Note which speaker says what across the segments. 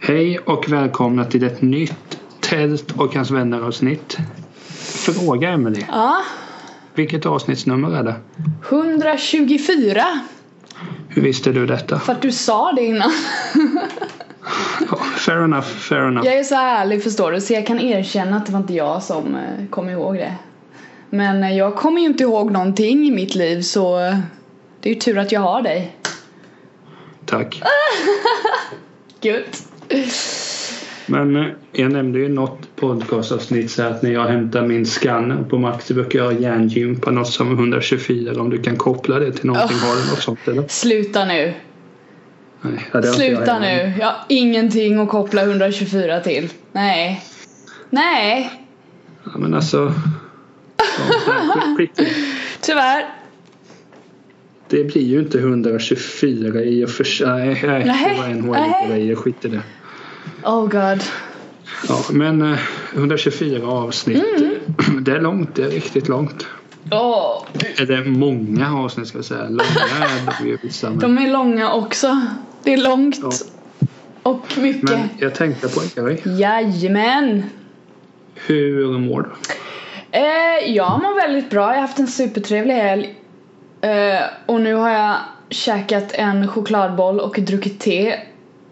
Speaker 1: Hej och välkomna till ett nytt Tält och hans vänner avsnitt. Fråga Emelie,
Speaker 2: Ja,
Speaker 1: vilket avsnittsnummer är det?
Speaker 2: 124.
Speaker 1: Hur visste du detta?
Speaker 2: För att du sa det innan.
Speaker 1: Ja, Fair enough, fair enough.
Speaker 2: Jag är så här ärlig förstår du, så jag kan erkänna att det var inte jag som eh, kom ihåg det. Men eh, jag kommer ju inte ihåg någonting i mitt liv så eh, det är ju tur att jag har dig.
Speaker 1: Tack.
Speaker 2: Gud.
Speaker 1: Men eh, jag nämnde ju i något podcastavsnitt så här att när jag hämtar min skanner på Max så brukar jag hjärngympa något som 124 om du kan koppla det till någonting. Har du något sånt eller?
Speaker 2: Sluta nu.
Speaker 1: Nej, ja, det har inte jag
Speaker 2: Sluta
Speaker 1: heller.
Speaker 2: nu. Jag har ingenting att koppla 124 till. Nej. Nej.
Speaker 1: Ja, men alltså. Ja, nej, skit i det.
Speaker 2: Tyvärr.
Speaker 1: det blir ju inte 124 i och för sig. Nej, nej, det var en
Speaker 2: Nej,
Speaker 1: hårig grej. Skit i det.
Speaker 2: Oh god.
Speaker 1: Ja, men eh, 124 avsnitt.
Speaker 2: Mm.
Speaker 1: Det är långt. Det är riktigt långt.
Speaker 2: Åh.
Speaker 1: Är det många avsnitt ska jag säga? Långa är det ju vissa. Men...
Speaker 2: De är långa också. Det är långt.
Speaker 1: Ja.
Speaker 2: Och mycket.
Speaker 1: Men jag tänkte på en grej.
Speaker 2: Jajamän!
Speaker 1: Hur mår du?
Speaker 2: Eh, jag mår väldigt bra, jag har haft en supertrevlig helg. Eh, och nu har jag käkat en chokladboll och druckit te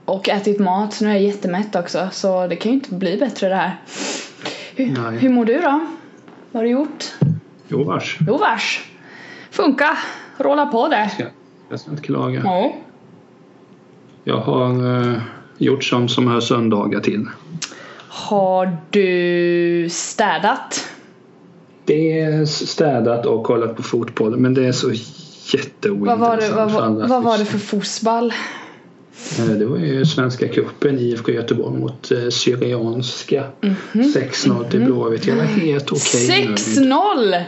Speaker 2: och ätit mat, så nu är jag jättemätt också. Så det kan ju inte bli bättre det här. Hur,
Speaker 1: Nej.
Speaker 2: hur mår du då? Vad har du gjort?
Speaker 1: Jo vars.
Speaker 2: Jo vars! Funka! Råla på det!
Speaker 1: Jag- Jag ska inte klaga.
Speaker 2: Ja.
Speaker 1: Jag har eh, gjort sånt som hör söndagar till.
Speaker 2: Har du städat?
Speaker 1: Det är städat och kollat på fotboll men det är så jätteointressant.
Speaker 2: Vad var, det, vad,
Speaker 1: för alla
Speaker 2: var, vad var det
Speaker 1: att-
Speaker 2: för fotboll?
Speaker 1: Eh, Det var ju Svenska cupen, IFK Göteborg mot eh, Syrianska.
Speaker 2: Mhm.
Speaker 1: 6-0 till Blåvitt. Jag var helt okej nöjd.
Speaker 2: 6-0!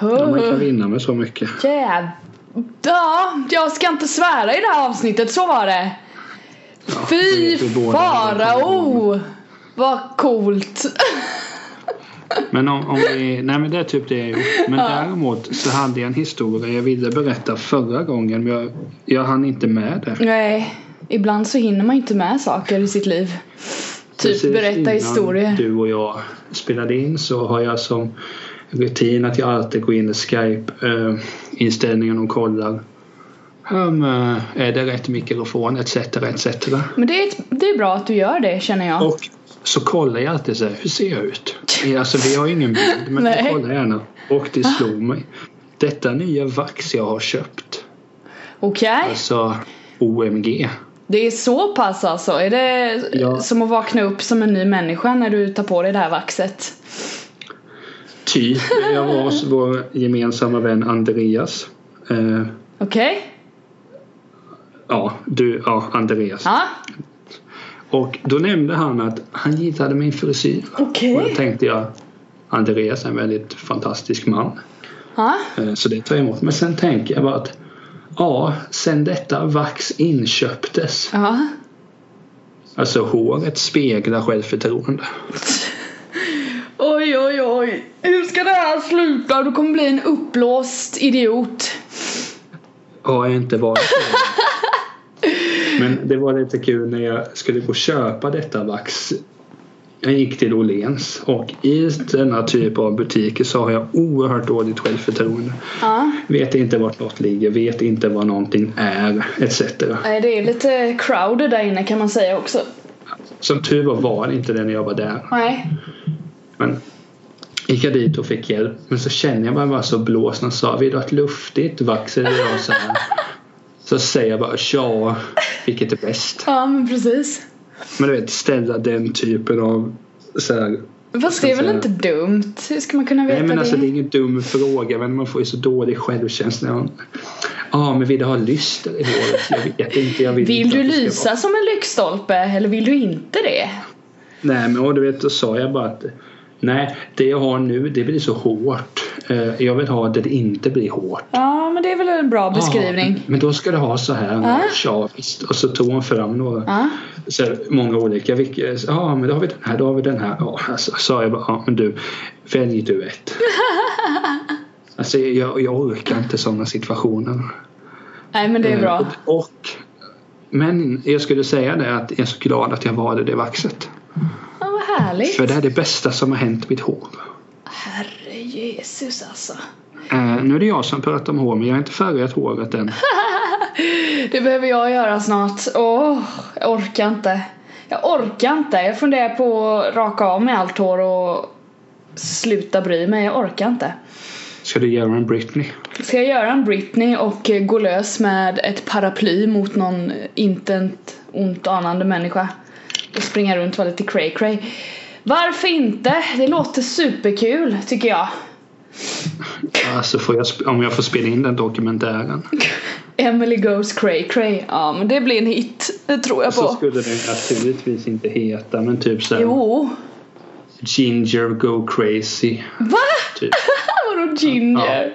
Speaker 1: Ja, man kan
Speaker 2: Huh.
Speaker 1: vinna med så mycket.
Speaker 2: Jävlar. Jag ska inte svära i det här avsnittet, så var det.
Speaker 1: det
Speaker 2: Fy
Speaker 1: vet vi båda.
Speaker 2: farao! Vad coolt.
Speaker 1: Men om, om vi, nej men det är typ det jag gjort. Men däremot så hade jag en historia jag ville berätta förra gången men jag, jag hann inte med det.
Speaker 2: Nej, ibland så hinner man inte med saker i sitt liv. Typ
Speaker 1: Precis
Speaker 2: berätta
Speaker 1: innan
Speaker 2: historier.
Speaker 1: du och jag spelade in så har jag som rutin att jag alltid går in i Skype-inställningen och kollar. Um, är det rätt mikrofon etc. etc.
Speaker 2: Men det är, ett, det är bra att du gör det känner jag.
Speaker 1: Och så kollar jag alltid så här, hur ser jag ut? Alltså vi har ingen bild men jag
Speaker 2: Nej.
Speaker 1: kollar gärna. Och det slog mig. Detta nya vax jag har köpt.
Speaker 2: Okej,
Speaker 1: Alltså OMG.
Speaker 2: det är så pass alltså. Är det
Speaker 1: Ja.
Speaker 2: som att vakna upp som en ny människa när du tar på dig det här vaxet?
Speaker 1: Typ. Jag var hos vår gemensamma vän Andreas. Eh,
Speaker 2: Okej,
Speaker 1: ja, du, ja, Andreas.
Speaker 2: ja.
Speaker 1: Och då nämnde han att han gillade min frisyr.
Speaker 2: Okej.
Speaker 1: Och då tänkte jag Andreas är en väldigt fantastisk man.
Speaker 2: Ja.
Speaker 1: Eh, Så det tar jag emot. Men sen tänker jag bara att ja, sen detta vax inköptes.
Speaker 2: Ja.
Speaker 1: Alltså håret speglar självförtroende.
Speaker 2: Oj, oj, oj. Hur ska det här sluta? Du kommer bli en uppblåst idiot.
Speaker 1: Har jag inte varit med. Men det var lite kul när jag skulle gå och köpa detta vax. Jag gick till Åhléns och i denna typ av butiker så har jag oerhört dåligt självförtroende.
Speaker 2: Ja.
Speaker 1: Vet inte vart något ligger, vet inte vad någonting är etc.
Speaker 2: Nej, Det är lite crowded där inne kan man säga också.
Speaker 1: Som tur var var det inte det när jag var där.
Speaker 2: Nej.
Speaker 1: Men gick jag dit och fick hjälp. Men så känner jag mig bara så blåst när jag sa vill du ha ett luftigt vax eller vill du ha så här? Så säger jag bara ja, vilket är bäst?
Speaker 2: Ja, men precis.
Speaker 1: Men du vet ställa den typen av så här.
Speaker 2: Fast det är väl
Speaker 1: säga-
Speaker 2: inte dumt? Hur ska man kunna veta
Speaker 1: Nej men alltså det
Speaker 2: det?
Speaker 1: är ingen dum fråga men man får ju så dålig självkänsla. Ja ah, men vill du ha lyster i håret? Jag vet inte. Jag vill
Speaker 2: Vill
Speaker 1: inte
Speaker 2: du
Speaker 1: att det ska vara-
Speaker 2: lysa som en lyktstolpe eller vill du inte det?
Speaker 1: Nej men och du vet då sa jag bara att Nej, det jag har nu det blir så hårt. Eh, Jag vill ha det det inte blir hårt.
Speaker 2: Ja, men det är väl en bra
Speaker 1: Ja,
Speaker 2: beskrivning.
Speaker 1: men då ska du ha så här.
Speaker 2: Ah.
Speaker 1: Ja, visst. Och så tog hon fram några.
Speaker 2: Ja.
Speaker 1: Så här, många olika. vilka- Ja, men då har vi den här. Då har vi den här. Ja, alltså, sa jag bara. Ja, men du. Välj du ett. alltså, jag, jag orkar inte sådana situationer. Eh,
Speaker 2: Nej, men det är bra.
Speaker 1: Mm. Och, men jag skulle säga det att jag är så glad att jag valde det vaxet.
Speaker 2: Ja, vad härligt.
Speaker 1: För det är det bästa som har hänt mitt hår.
Speaker 2: Herre Jesus alltså.
Speaker 1: Eh, nu är det jag som pratar om hår men jag har inte färgat håret än.
Speaker 2: Det behöver jag göra snart. Åh, jag orkar inte. Jag orkar inte. Jag funderar på att raka av mig allt hår och sluta bry mig. Jag orkar inte.
Speaker 1: Ska du göra en Britney?
Speaker 2: Ska jag göra en Britney och eh, gå lös med ett paraply mot någon intent ont anande människa och springa runt och vara lite cray cray? Varför inte? Det låter superkul tycker jag.
Speaker 1: Alltså får jag, sp- om jag får spela in den dokumentären.
Speaker 2: Emily goes cray cray. Ja men det blir en hit, det tror jag
Speaker 1: Så
Speaker 2: på.
Speaker 1: Alltså, skulle den naturligtvis inte heta men typ såhär
Speaker 2: Jo.
Speaker 1: Ginger Go Crazy.
Speaker 2: Va?
Speaker 1: Typ.
Speaker 2: Vadå ginger?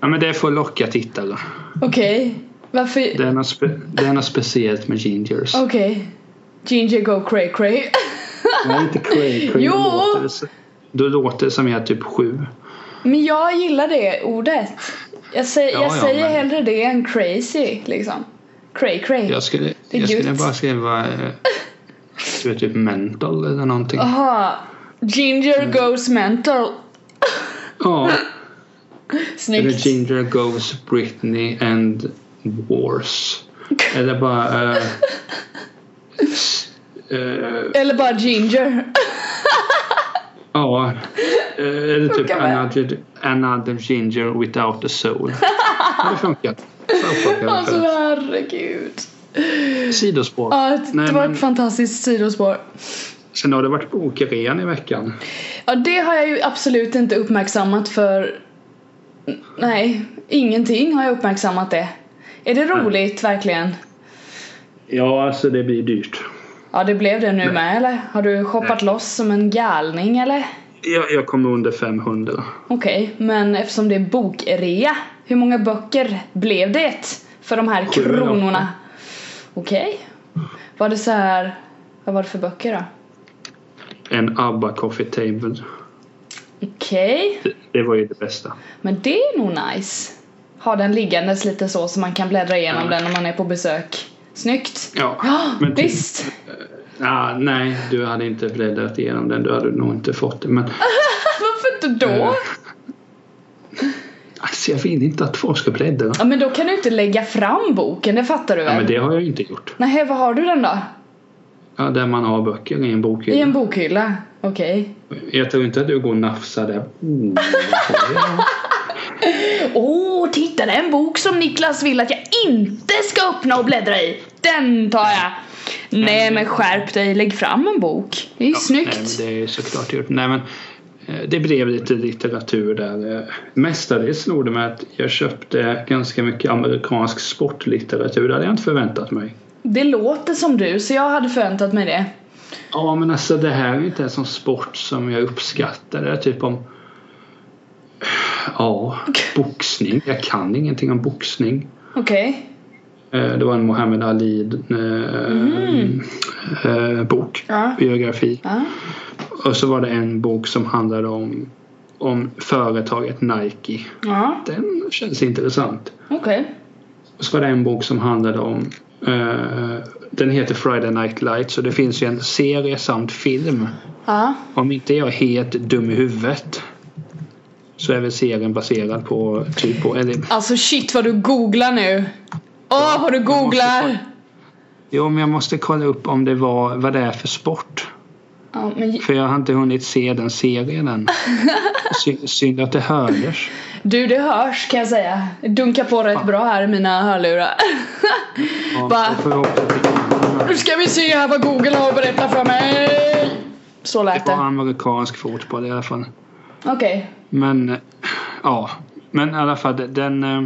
Speaker 1: Ja men det får locka tittare.
Speaker 2: Okej. Varför?
Speaker 1: Det är något, spe- det är något speciellt med gingers.
Speaker 2: Okej. Ginger go cray cray.
Speaker 1: Nej inte cray cray.
Speaker 2: Jo!
Speaker 1: Då låter det så- Då låter det som jag är typ sju.
Speaker 2: Men jag gillar det ordet. Jag, säger,
Speaker 1: Ja,
Speaker 2: jag
Speaker 1: ja,
Speaker 2: säger
Speaker 1: men-
Speaker 2: hellre det än crazy liksom. Cray cray.
Speaker 1: Jag skulle,
Speaker 2: Det är
Speaker 1: jag skulle
Speaker 2: gött.
Speaker 1: bara skriva eh, du vet, typ mental eller någonting.
Speaker 2: Aha. Ginger
Speaker 1: Mm.
Speaker 2: goes mental.
Speaker 1: Ja. Eller
Speaker 2: Snyggt.
Speaker 1: Ginger Goes Britney and Wars. Eller bara... eh, s- eh,
Speaker 2: Eller bara ginger.
Speaker 1: Ja. eh, eller typ
Speaker 2: Funkar med.
Speaker 1: another, another Ginger Without a Soul. Ja, Det funkar. Så funkar det.
Speaker 2: Alltså herregud.
Speaker 1: Sidospår.
Speaker 2: Ja, det
Speaker 1: Nej,
Speaker 2: var
Speaker 1: men-
Speaker 2: ett fantastiskt sidospår.
Speaker 1: Sen har det varit bokrean i veckan.
Speaker 2: Ja, det har jag ju absolut inte uppmärksammat för... Nej, ingenting har jag uppmärksammat det. Är det roligt verkligen?
Speaker 1: Ja, alltså det blir dyrt.
Speaker 2: Ja, det blev det nu med eller? Har du shoppat loss som en galning eller?
Speaker 1: Jag, jag kom under 500.
Speaker 2: Okej, men eftersom det är bokrea, hur många böcker blev det för de här
Speaker 1: Sju eller åtta.
Speaker 2: kronorna? Okej. Var det så här... Vad var det för böcker då?
Speaker 1: En ABBA Coffee Table.
Speaker 2: Okej,
Speaker 1: Det, det var ju det bästa.
Speaker 2: men det är nog nice. Ha den liggandes lite så så man kan bläddra igenom
Speaker 1: Ja.
Speaker 2: den när man är på besök. Snyggt!
Speaker 1: Ja,
Speaker 2: Ja,
Speaker 1: men typ-
Speaker 2: visst!
Speaker 1: Ah, nej, du hade inte bläddrat igenom den. Du hade nog inte fått det. Men
Speaker 2: Varför inte då?
Speaker 1: Eh. alltså, jag vill inte att folk ska bläddra.
Speaker 2: Ja men då kan du inte lägga fram boken, det fattar du
Speaker 1: Ja,
Speaker 2: väl?
Speaker 1: men det har jag ju inte gjort.
Speaker 2: Nej, vad har du den då?
Speaker 1: Ja, där man har böcker i en bokhylla.
Speaker 2: I en bokhylla? Okej.
Speaker 1: Jag tror inte att du går och nafsar där. Oh, vad har jag?
Speaker 2: Åh, titta det är en bok som Niklas vill att jag inte ska öppna och bläddra i. Den tar jag. Nej men skärp dig, lägg fram en bok. Det är ju snyggt.
Speaker 1: nej, men det är ju såklart gjort. Nej, men, eh, det blev lite litteratur där. Eh, Mestadels slog det mig att jag köpte ganska mycket amerikansk sportlitteratur. Det hade jag inte förväntat mig.
Speaker 2: det låter som du, så jag hade förväntat mig det.
Speaker 1: Ja men alltså det här är inte en sån sport som jag uppskattar. Det är typ om Ja, boxning. Jag kan ingenting om boxning.
Speaker 2: Okej.
Speaker 1: Eh, Det var en Muhammad Ali eh, eh, bok,
Speaker 2: Ja.
Speaker 1: biografi.
Speaker 2: Ja.
Speaker 1: Och så var det en bok som handlade om, om företaget Nike.
Speaker 2: Ja,
Speaker 1: Den känns intressant.
Speaker 2: okej.
Speaker 1: Och så var det en bok som handlade om eh, den heter Friday Night Lights och det finns ju en serie samt film
Speaker 2: Ja.
Speaker 1: Om inte jag är helt dum i huvudet så är väl serien baserad på typ på, eller
Speaker 2: Alltså shit vad du googlar nu. Åh vad du googlar!
Speaker 1: jo men jag måste kolla upp om det var vad det är för sport.
Speaker 2: Ja, men
Speaker 1: För jag har inte hunnit se den serien än. Sy- Synd att det hördes.
Speaker 2: Du, det hörs kan jag säga. Dunkar på rätt bra här i mina hörlurar.
Speaker 1: Ja,
Speaker 2: Bara-
Speaker 1: då får vi hoppas att det-
Speaker 2: Nu ska vi se här vad Google har att berätta för mig. Så lät
Speaker 1: det var
Speaker 2: det.
Speaker 1: amerikansk fotboll i alla fall.
Speaker 2: Okej.
Speaker 1: Men eh, ja, men i alla fall den eh,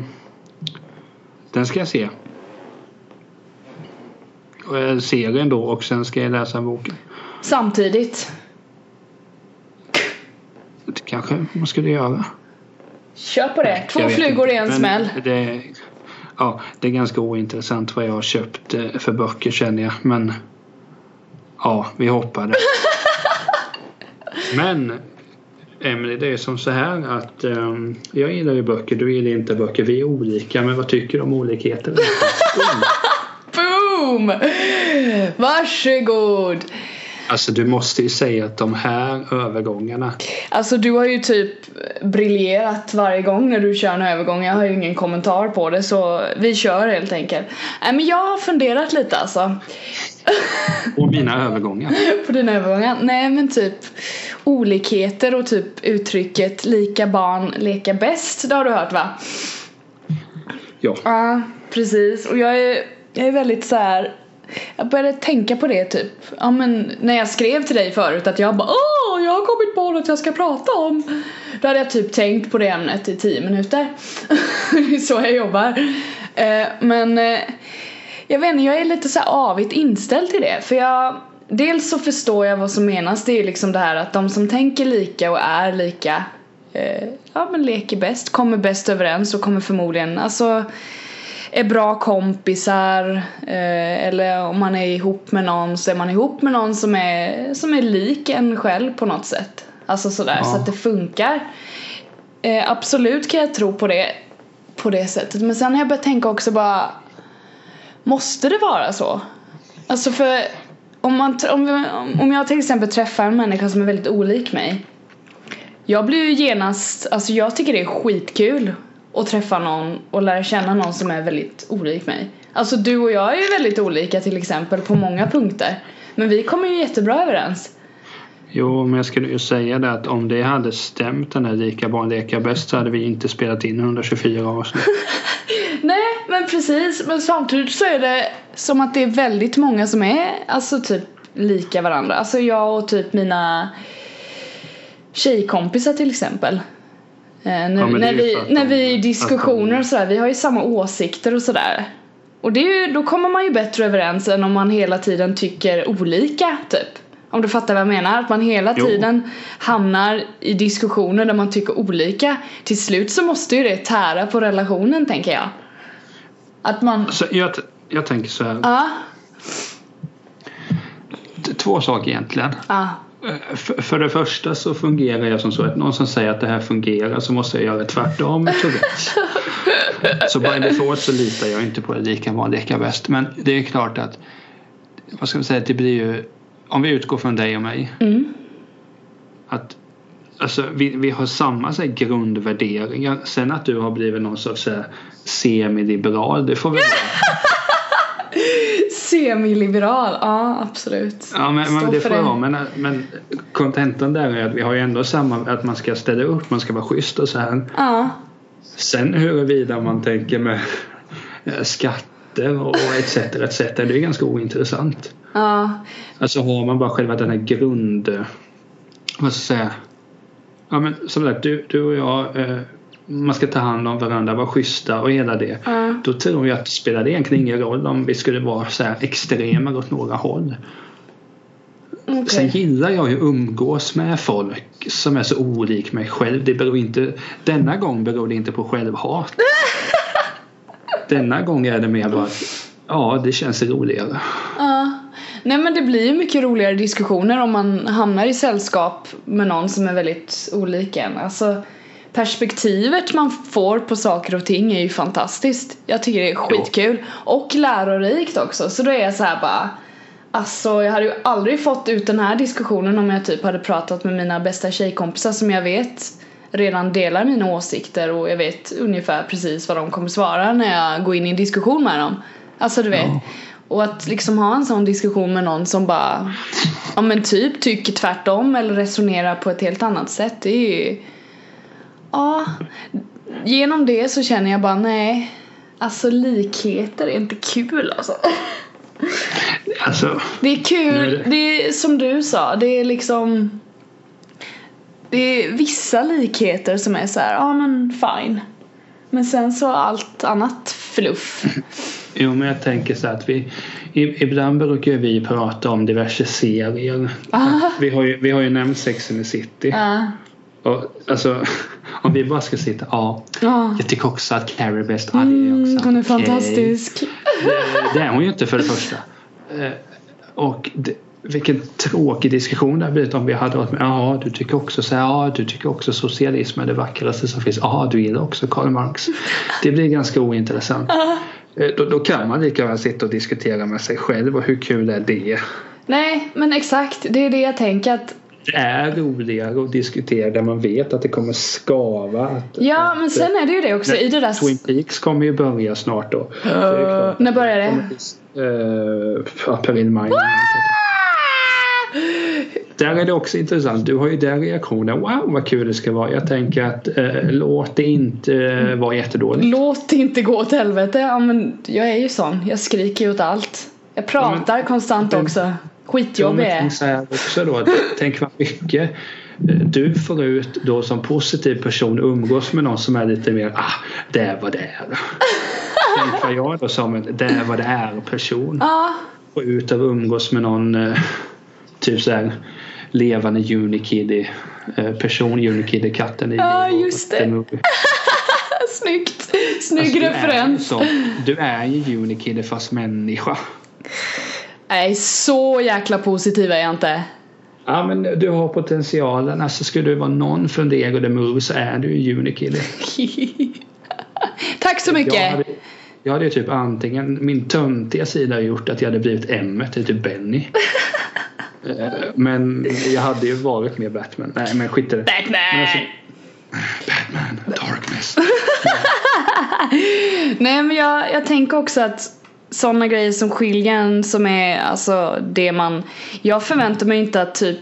Speaker 1: den ska jag se. Och, eh, Serien då och sen ska jag läsa boken.
Speaker 2: Samtidigt.
Speaker 1: kanske man skulle göra.
Speaker 2: Kör på det. Två
Speaker 1: Jag vet
Speaker 2: flugor i
Speaker 1: inte.
Speaker 2: en
Speaker 1: Men
Speaker 2: smäll.
Speaker 1: Det, ja, det är ganska ointressant vad jag har köpt eh, för böcker känner jag. Men ja, vi hoppar det. men Emelie, det är som så här att ehm, jag gillar ju böcker, du gillar inte böcker. Vi är olika, men vad tycker du om olikheter? Mm.
Speaker 2: Boom! Varsågod!
Speaker 1: alltså du måste ju säga att de här övergångarna.
Speaker 2: Alltså du har ju typ briljerat varje gång när du kör en övergång. Jag har ju ingen kommentar på det så vi kör helt enkelt. Nej men jag har funderat lite alltså.
Speaker 1: Och mina övergångar.
Speaker 2: på dina övergångar. Nej men typ olikheter och typ uttrycket lika barn leka bäst. Det har du hört va?
Speaker 1: Ja.
Speaker 2: Ja, precis. Och jag är, jag är väldigt så här. Jag började tänka på det typ. Ja men när jag skrev till dig förut att jag bara Åh, jag har kommit på något jag ska prata om. Då hade jag typ tänkt på det ämnet i tio minuter. det är så jag jobbar. Eh, men eh, jag vet inte, jag är lite så här avigt inställd till det. För jag Dels så förstår jag vad som menas. Det är ju liksom det här att de som tänker lika och är lika eh, ja men leker bäst, kommer bäst överens och kommer förmodligen, alltså är bra kompisar eh, eller om man är ihop med någon så är man ihop med någon som är, som är lik en själv på något sätt. Alltså sådär
Speaker 1: Ja.
Speaker 2: så att det funkar. Eh, absolut kan jag tro på det på det sättet men sen har jag börjat tänka också bara Måste det vara så? Alltså för om, man, tr- om, vi- om jag till exempel träffar en människa som är väldigt olik mig jag blir ju genast, alltså jag tycker det är skitkul att träffa någon och lära känna någon som är väldigt olik mig. Alltså du och jag är ju väldigt olika till exempel på många punkter. Men vi kommer ju jättebra överens.
Speaker 1: Jo, men jag skulle ju säga det att om det hade stämt den här lika barn leka bäst så hade vi inte spelat in 124 avsnitt.
Speaker 2: Nej, men precis. Men samtidigt så är det som att det är väldigt många som är alltså typ lika varandra. Alltså jag och typ mina tjejkompisar till exempel. Eh, när,
Speaker 1: men det
Speaker 2: när,
Speaker 1: är ju
Speaker 2: vi,
Speaker 1: för att
Speaker 2: när
Speaker 1: de-
Speaker 2: vi är i diskussioner
Speaker 1: att
Speaker 2: och sådär, vi har ju samma åsikter och sådär. Och det är ju, då kommer man ju bättre överens än om man hela tiden tycker olika typ. Om du fattar vad jag menar? Att man hela
Speaker 1: Jo.
Speaker 2: tiden hamnar i diskussioner där man tycker olika. Till slut så måste ju det tära på relationen tänker jag. Att man...
Speaker 1: Så jag, t- jag tänker så här.
Speaker 2: Ja,
Speaker 1: T- Två saker egentligen.
Speaker 2: ja,
Speaker 1: Eh, F- för det första så fungerar jag som så att någon som säger att det här fungerar så måste jag göra tvärtom så rätt. Så by default så litar jag inte på det lika barn leka bäst. Men det är klart att vad ska man säga, det blir ju om vi utgår från dig och mig.
Speaker 2: Mm.
Speaker 1: Att alltså, vi, vi har samma så här, grundvärderingar. Sen att du har blivit någon sorts så här, semiliberal, det får vi vara.
Speaker 2: Semiliberal, ja absolut.
Speaker 1: Ja, men,
Speaker 2: Stå
Speaker 1: men det
Speaker 2: för
Speaker 1: får jag ha. Men, men kontentan där är att vi har ju ändå samma, att man ska ställa upp, man ska vara schysst och så här.
Speaker 2: Ja,
Speaker 1: Sen huruvida man tänker med eh, skatter och etc. etc. Det är ju ganska ointressant.
Speaker 2: ja,
Speaker 1: Alltså har man bara själva den här grund... Vad ska jag säga? Ja men som sagt, du, du och jag, eh, man ska ta hand om varandra, vara schyssta och hela det.
Speaker 2: ja.
Speaker 1: Då tror jag att det spelade egentligen ingen roll om vi skulle vara så här extrema åt några håll. Sen
Speaker 2: okej.
Speaker 1: gillar jag ju att umgås med folk som är så olik mig själv. Det beror inte, denna gång beror det inte på självhat. denna gång är det mer bara att ja, det känns roligare.
Speaker 2: Ja. Nej men det blir ju mycket roligare diskussioner om man hamnar i sällskap med någon som är väldigt olik en. Alltså perspektivet man får på saker och ting är ju fantastiskt. Jag tycker det är skitkul. Och lärorikt också. Så då är jag så här bara Alltså jag hade ju aldrig fått ut den här diskussionen om jag typ hade pratat med mina bästa tjejkompisar som jag vet redan delar mina åsikter och jag vet ungefär precis vad de kommer svara när jag går in i en diskussion med dem. Alltså du vet.
Speaker 1: Ja.
Speaker 2: Och att liksom ha en sån diskussion med någon som bara ja men typ tycker tvärtom eller resonerar på ett helt annat sätt det är ju ja genom det så känner jag bara nej alltså likheter är inte kul alltså.
Speaker 1: Alltså,
Speaker 2: Det är
Speaker 1: Nu är
Speaker 2: kul,
Speaker 1: det-
Speaker 2: det är som du sa, det är liksom Det är vissa likheter som är så här, ja men fine Men sen så allt annat fluff
Speaker 1: jo men jag tänker så här att vi i- ibland brukar ju vi prata om diverse serier.
Speaker 2: Ja,
Speaker 1: Vi har ju, vi har ju nämnt Sex and the City.
Speaker 2: Ah. ja,
Speaker 1: Och, alltså, om vi bara ska sitta, ja.
Speaker 2: Ja.
Speaker 1: Jag tycker också att Claire är bäst. Ja, det är jag
Speaker 2: Mm,
Speaker 1: också.
Speaker 2: hon är
Speaker 1: Okej.
Speaker 2: fantastisk.
Speaker 1: Det är hon ju inte för det första. Eh, Och det, vilken tråkig diskussion det hade blivit om vi hade varit med. Ja, du tycker också så här. Ja, du tycker också socialism är det vackraste som finns. Ja, du gillar också Karl Marx. Det blir ganska ointressant. Eh, Då, då kan man lika väl sitta och diskutera med sig själv och hur kul är det?
Speaker 2: Nej, men exakt. Det är det jag tänker att
Speaker 1: Det är roligare att diskutera där man vet att det kommer skava. Att,
Speaker 2: Ja, men sen är det ju det också i det där...
Speaker 1: Twin Peaks kommer ju börja snart då. Så det är klart.
Speaker 2: när börjar det?
Speaker 1: Kommer till, eh, april, maj.
Speaker 2: Ah!
Speaker 1: Där är det också intressant. Du har ju den reaktionen. Wow vad kul det ska vara. Jag tänker att eh, låt det inte eh, vara jättedåligt.
Speaker 2: Låt det inte gå åt helvete. Ja, men jag är ju sån. Jag skriker ju åt allt. Jag pratar konstant
Speaker 1: men-
Speaker 2: också.
Speaker 1: Ja,
Speaker 2: Skitjobbig
Speaker 1: men
Speaker 2: är jag.
Speaker 1: tänk så här också då. Tänk vad mycket eh, du förut då som positiv person umgås med någon som är lite mer ah, det är vad det är. Tänk vad jag då som en det är vad det är person.
Speaker 2: Ja,
Speaker 1: Får ut av umgås med någon eh, typ så här levande Unikiddy eh, person, Unikiddy katten i
Speaker 2: Ja,
Speaker 1: Lilo
Speaker 2: just
Speaker 1: the
Speaker 2: det.
Speaker 1: Movie.
Speaker 2: snyggt. Snygg
Speaker 1: Alltså, du är ju
Speaker 2: referens.
Speaker 1: sån. Du är ju Unikiddy fast människa.
Speaker 2: Nej, så jäkla positiv är jag inte.
Speaker 1: Ja men du har potentialen. Alltså skulle du vara någon från Lego the Movie så är du ju Unikiddy.
Speaker 2: Tack så mycket.
Speaker 1: Jag hade, jag hade ju typ antingen min töntiga sida har gjort att jag hade blivit M, till typ Benny. Eh, men jag hade ju varit mer Batman. Nej men skit i det.
Speaker 2: Batman!
Speaker 1: alltså- Batman, darkness.
Speaker 2: Nej men jag, jag tänker också att sådana grejer som skiljer en som är alltså det man Jag förväntar mig inte att typ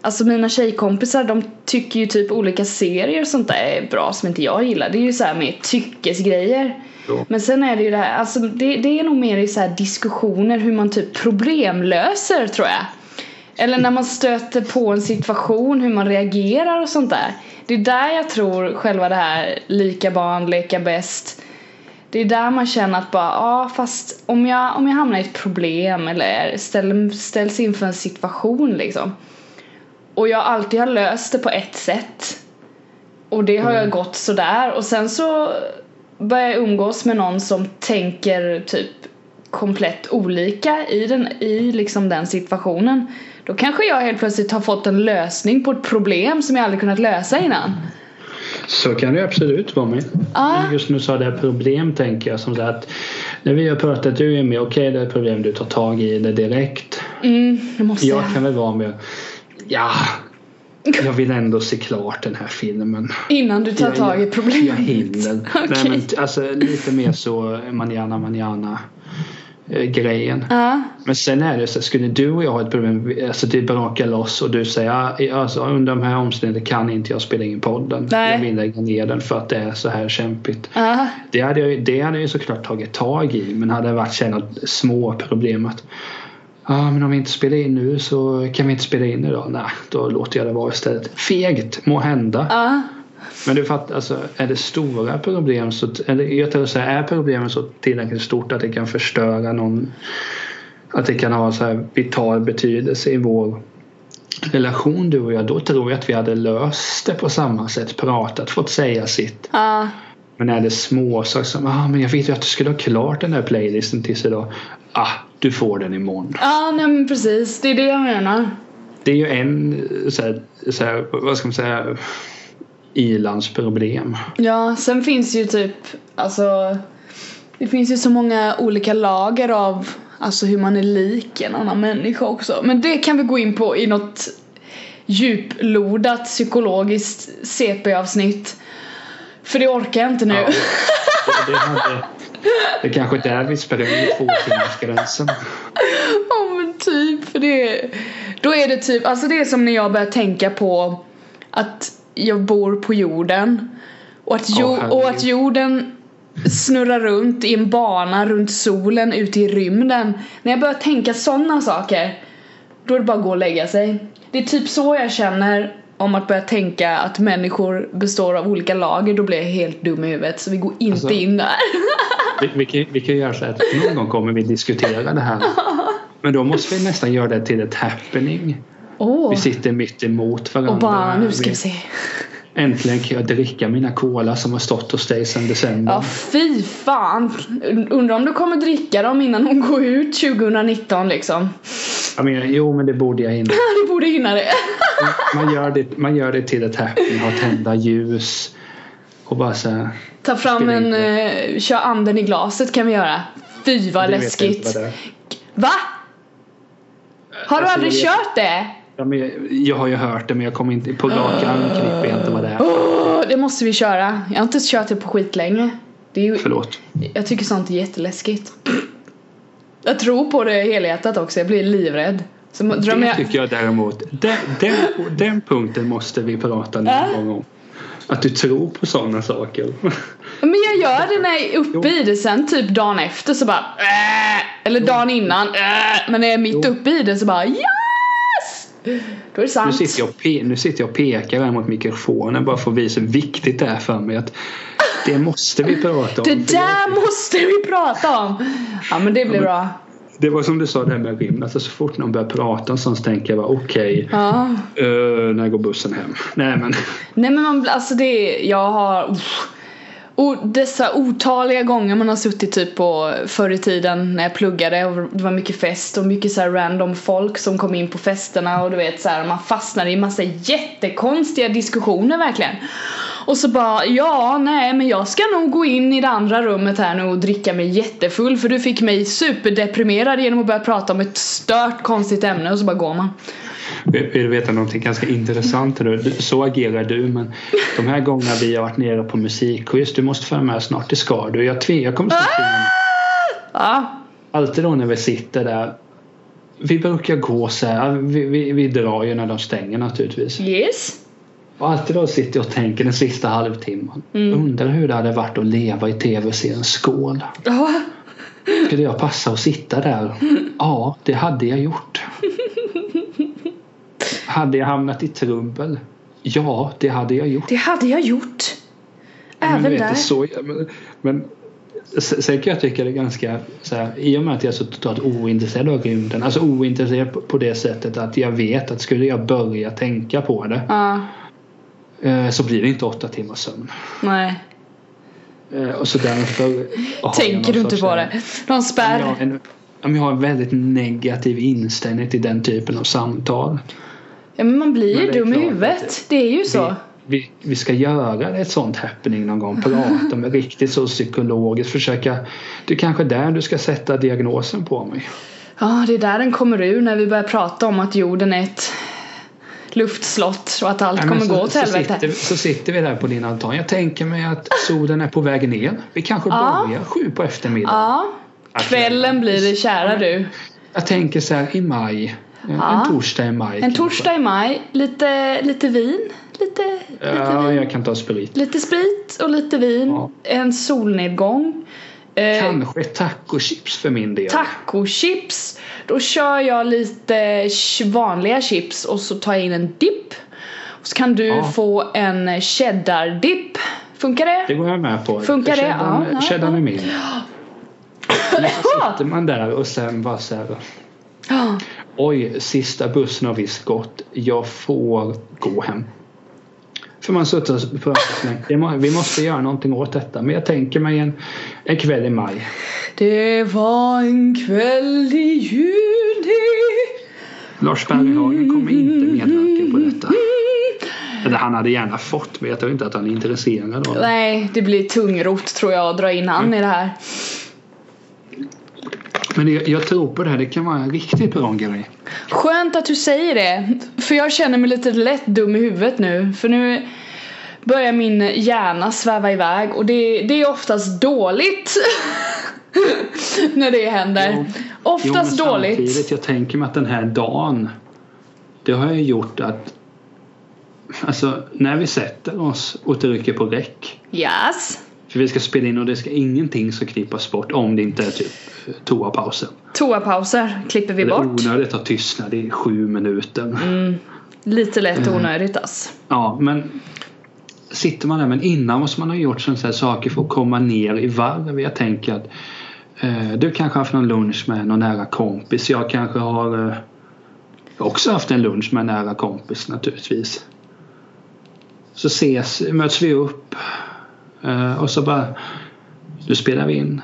Speaker 2: Alltså mina tjejkompisar de tycker ju typ olika serier och sånt där är bra som inte jag gillar. Det är ju så här mer tyckesgrejer.
Speaker 1: Ja.
Speaker 2: Men sen är det ju det här, alltså det, det är nog mer i så här diskussioner hur man typ problemlöser tror jag. Eller när man stöter på en situation, hur man reagerar och sånt där. Det är där jag tror själva det här lika barn, leka bäst. Det är där man känner att bara, ja fast om jag, om jag hamnar i ett problem eller ställ, ställs inför en situation liksom. Och jag alltid har löst det på ett sätt. Och det har jag gått sådär och sen så börjar jag umgås med någon som tänker typ komplett olika i den, i liksom den situationen. Då kanske jag helt plötsligt har fått en lösning på ett problem som jag aldrig kunnat lösa innan.
Speaker 1: Så kan det absolut vara med.
Speaker 2: Ja.
Speaker 1: Just nu sa det här problem tänker jag som så här att när vi har pratat du är med, okej det är ett problem du tar tag i det direkt.
Speaker 2: Mm, det måste jag.
Speaker 1: Jag kan väl vara med, ja, jag vill ändå se klart den här filmen.
Speaker 2: Innan du tar
Speaker 1: Jag-
Speaker 2: tag i problemet.
Speaker 1: Jag hinner. Nej,
Speaker 2: Okej.
Speaker 1: men, t- alltså, lite mer så manana manana eh, grejen.
Speaker 2: Ja.
Speaker 1: Men sen är det så här, skulle du och jag ha ett problem, alltså det brakar loss och du säger "Ah, i- alltså, under de här omständigheterna kan inte jag spela in podden.
Speaker 2: Nej.
Speaker 1: Jag vill lägga ner den för att det är så här kämpigt.
Speaker 2: Ja.
Speaker 1: Det hade jag ju, det hade jag ju såklart tagit tag i men hade det varit sådana små problem att Ja men om vi inte spelar in nu så kan vi inte spela in idag. Nej, då låter jag det vara istället. Fegt må hända.
Speaker 2: Ja.
Speaker 1: Men du fattar, alltså, är det stora problem så, eller jag tror så här, är problemet så tillräckligt stort att det kan förstöra någon att det kan ha så här vital betydelse i vår relation du och jag, då tror jag att vi hade löst det på samma sätt, pratat, fått säga sitt.
Speaker 2: Ja.
Speaker 1: Men är det småsaker som, ah men jag vet ju att du skulle ha klart den här playlisten tills idag. Ah, du får den imorgon.
Speaker 2: Ja, nej men precis. Det är det jag menar.
Speaker 1: Det är ju en eh, så här, så här, vad ska man säga, ilandsproblem.
Speaker 2: Ja, sen finns ju typ, alltså Det finns ju så många olika lager av Alltså hur man är lik en annan människa också. Men det kan vi gå in på i något djuplodat psykologiskt CP-avsnitt. För det orkar jag inte nu.
Speaker 1: Ja. Det, det, hade, det kanske är där vi sprang tvåtimmarsgränsen.
Speaker 2: Ja men typ, för det Då är det typ, alltså det är som när jag börjar tänka på att jag bor på jorden och att, jo-
Speaker 1: Åh, herregud.
Speaker 2: och att jorden snurrar runt i en bana runt solen ute i rymden. När jag börjar tänka sådana saker då är det bara att gå och lägga sig. Det är typ så jag känner om att börja tänka att människor består av olika lager, då blir jag helt dum i huvudet så vi går inte
Speaker 1: Alltså-
Speaker 2: in där.
Speaker 1: Vi, vi, kan- vi kan göra så här att någon gång kommer vi diskutera det här. Men då måste vi nästan göra det till ett happening.
Speaker 2: Åh,
Speaker 1: Vi sitter mitt emot varandra.
Speaker 2: och bara nu ska
Speaker 1: Vi-
Speaker 2: vi se.
Speaker 1: Äntligen kan jag dricka mina cola som har stått hos dig sedan december.
Speaker 2: Ja, fy fan. Undrar om du kommer dricka dem innan hon går ut 2019 liksom.
Speaker 1: Jag menar, jo men det borde jag hinna.
Speaker 2: Du borde hinna det.
Speaker 1: Man gör det, man gör det till ett happy, har tända ljus och bara så här,
Speaker 2: Ta fram
Speaker 1: Skulle
Speaker 2: en,
Speaker 1: inte.
Speaker 2: eh, kör anden i glaset kan vi göra. Fy vad
Speaker 1: det vet jag inte
Speaker 2: läskigt.
Speaker 1: vad det är.
Speaker 2: Va? Har du
Speaker 1: Alltså,
Speaker 2: aldrig
Speaker 1: jag vet-
Speaker 2: kört det?
Speaker 1: Ja, men jag, jag har ju hört det men jag kommer inte på rak
Speaker 2: Ah.
Speaker 1: arm knippa jag inte vad det är.
Speaker 2: Åh, det måste vi köra. Jag har inte kört det på skit länge. Det är ju,
Speaker 1: Förlåt.
Speaker 2: jag tycker sånt är jätteläskigt. Jag tror på det helhjärtat också, jag blir livrädd. Så må- drömmer
Speaker 1: Det typ
Speaker 2: jag...
Speaker 1: tycker jag däremot. Den, den, den punkten måste vi prata någon
Speaker 2: Äh?
Speaker 1: gång om. Att du tror på sådana saker.
Speaker 2: Men jag gör det när jag är uppe i det sen typ dagen efter så bara äh, Eller dagen innan äh, Men när jag är mitt
Speaker 1: Jo.
Speaker 2: uppe i det så bara yes! Då är det
Speaker 1: Nu
Speaker 2: sant.
Speaker 1: sitter jag och, pe- nu sitter jag och pekar här mot mikrofonen bara för att visa hur viktigt det är för mig. Att det måste vi prata om.
Speaker 2: Det
Speaker 1: För jag-
Speaker 2: där måste vi prata om! Ja men det blir bra.
Speaker 1: Det var som du sa det här med rymden. Alltså så fort någon börjar prata om sånt så tänker jag bara okej,
Speaker 2: Ja.
Speaker 1: eh, när går bussen hem? Nej men
Speaker 2: Nej men man, blir- alltså det är, jag har uff. Och dessa otaliga gånger man har suttit typ på förr i tiden när jag pluggade och det var mycket fest och mycket så här random folk som kom in på festerna och du vet så här man fastnade i massa jättekonstiga diskussioner verkligen. Och så bara ja nej men jag ska nog gå in i det andra rummet här nu och dricka mig jättefull för du fick mig superdeprimerad genom att börja prata om ett stört konstigt ämne och så bara går man.
Speaker 1: vill vill du veta någonting ganska intressant? Du, du- så agerar du men de här gångerna vi har varit nere på musikquiz, du måste följa med snart, det ska du. Jag, tve, jag kommer snart tvinga
Speaker 2: Ja.
Speaker 1: Alltid då när vi sitter där. Vi brukar gå så här, vi, vi, vi drar ju när de stänger naturligtvis.
Speaker 2: Yes.
Speaker 1: Och alltid då sitter jag och tänker den sista halvtimmen. Undrar hur det hade varit att leva i tv-serien Skål.
Speaker 2: Ja.
Speaker 1: Skulle jag passa och sitta där? Ja, det hade jag gjort. Hade jag hamnat i trubbel? Ja, det hade jag gjort.
Speaker 2: Det hade jag gjort.
Speaker 1: Men, du
Speaker 2: Även
Speaker 1: vet,
Speaker 2: där.
Speaker 1: det är så, men, men sen sen kan jag tycka det är ganska så här, I och med att jag är så totalt ointresserad av rymden. Alltså ointresserad på- på det sättet att jag vet att skulle jag börja tänka på det
Speaker 2: Ja,
Speaker 1: eh, så blir det inte åtta timmars sömn.
Speaker 2: nej.
Speaker 1: Eh, Och så därför har jag
Speaker 2: Tänker
Speaker 1: någon
Speaker 2: du inte
Speaker 1: sorts,
Speaker 2: på
Speaker 1: eh,
Speaker 2: det? De spärr.
Speaker 1: Jag har, en, om jag har en väldigt negativ inställning till den typen av samtal.
Speaker 2: Ja, men man blir
Speaker 1: Men
Speaker 2: ju
Speaker 1: det är
Speaker 2: dum i
Speaker 1: klart
Speaker 2: huvudet. Det är ju så.
Speaker 1: Vi, vi, vi ska göra ett sånt happening någon gång. Prata med riktigt så psykologiskt. Försöka. Det är kanske där du ska sätta diagnosen på mig.
Speaker 2: Ja, det är där den kommer ur när vi börjar prata om att jorden är ett luftslott och att allt
Speaker 1: Nej, men
Speaker 2: kommer
Speaker 1: så,
Speaker 2: gå åt
Speaker 1: så,
Speaker 2: helvete.
Speaker 1: sitter, vi- så sitter vi där på din altan. Jag tänker mig att solen är på väg ner. Vi kanske
Speaker 2: Ja.
Speaker 1: börjar sju på eftermiddagen.
Speaker 2: Ja,
Speaker 1: Att-
Speaker 2: kvällen blir det kära du.
Speaker 1: Jag tänker så här i maj. En
Speaker 2: Ja.
Speaker 1: torsdag i maj.
Speaker 2: En
Speaker 1: kanske.
Speaker 2: torsdag i maj, lite, lite vin, lite, lite
Speaker 1: Ja,
Speaker 2: vin.
Speaker 1: jag kan ta sprit.
Speaker 2: Lite sprit och lite vin.
Speaker 1: Ja.
Speaker 2: En solnedgång. Eh,
Speaker 1: Kanske tacochips för min del.
Speaker 2: tacochips. Då kör jag lite ch- vanliga chips och så tar jag in en dipp. Och så kan du
Speaker 1: Ja.
Speaker 2: få en cheddar-dipp. Funkar det?
Speaker 1: Det går jag med på.
Speaker 2: Funkar det?
Speaker 1: Cheddarn-
Speaker 2: Ja, ja,
Speaker 1: Cheddarn
Speaker 2: ja.
Speaker 1: är min. Men så sitter man där och sen bara så här.
Speaker 2: Ja.
Speaker 1: Oj, sista bussen har visst gått. Jag får gå hem. För man suttit och pratat så länge. Det må- Vi måste göra någonting åt detta. Men jag tänker mig en, en kväll i maj.
Speaker 2: Det var en kväll i juni.
Speaker 1: Lars Berghagen kommer inte medverka på detta. Eller han hade gärna fått, men jag tror inte att han är intresserad av det.
Speaker 2: Nej, det blir tungrot tror jag att dra in han i det här.
Speaker 1: Men jag, jag tror på det här. Det kan vara en riktigt bra grej.
Speaker 2: Skönt att du säger det. För jag känner mig lite lätt dum i huvudet nu. För nu börjar min hjärna sväva iväg och det, det är oftast dåligt. när det händer.
Speaker 1: Jo. Jo, men
Speaker 2: Oftast dåligt.
Speaker 1: Samtidigt, jag tänker mig att den här dagen, det har ju gjort att Alltså när vi sätter oss och trycker på räck
Speaker 2: Yes.
Speaker 1: För vi ska spela in och det ska ingenting ska klippas bort om det inte är typ toapausen.
Speaker 2: Toapauser klipper vi
Speaker 1: Det är
Speaker 2: bort.
Speaker 1: onödigt att tystna, det är sju minuter.
Speaker 2: Lite lätt
Speaker 1: Mm.
Speaker 2: onödigt ass.
Speaker 1: Ja, men sitter man där, men innan måste man ha gjort sådana här saker för att komma ner i varv. Jag tänker att eh, du kanske har haft någon lunch med någon nära kompis. Jag kanske har eh, Också haft en lunch med en nära kompis naturligtvis. Så ses, möts vi upp eh, och så bara nu spelar vi in.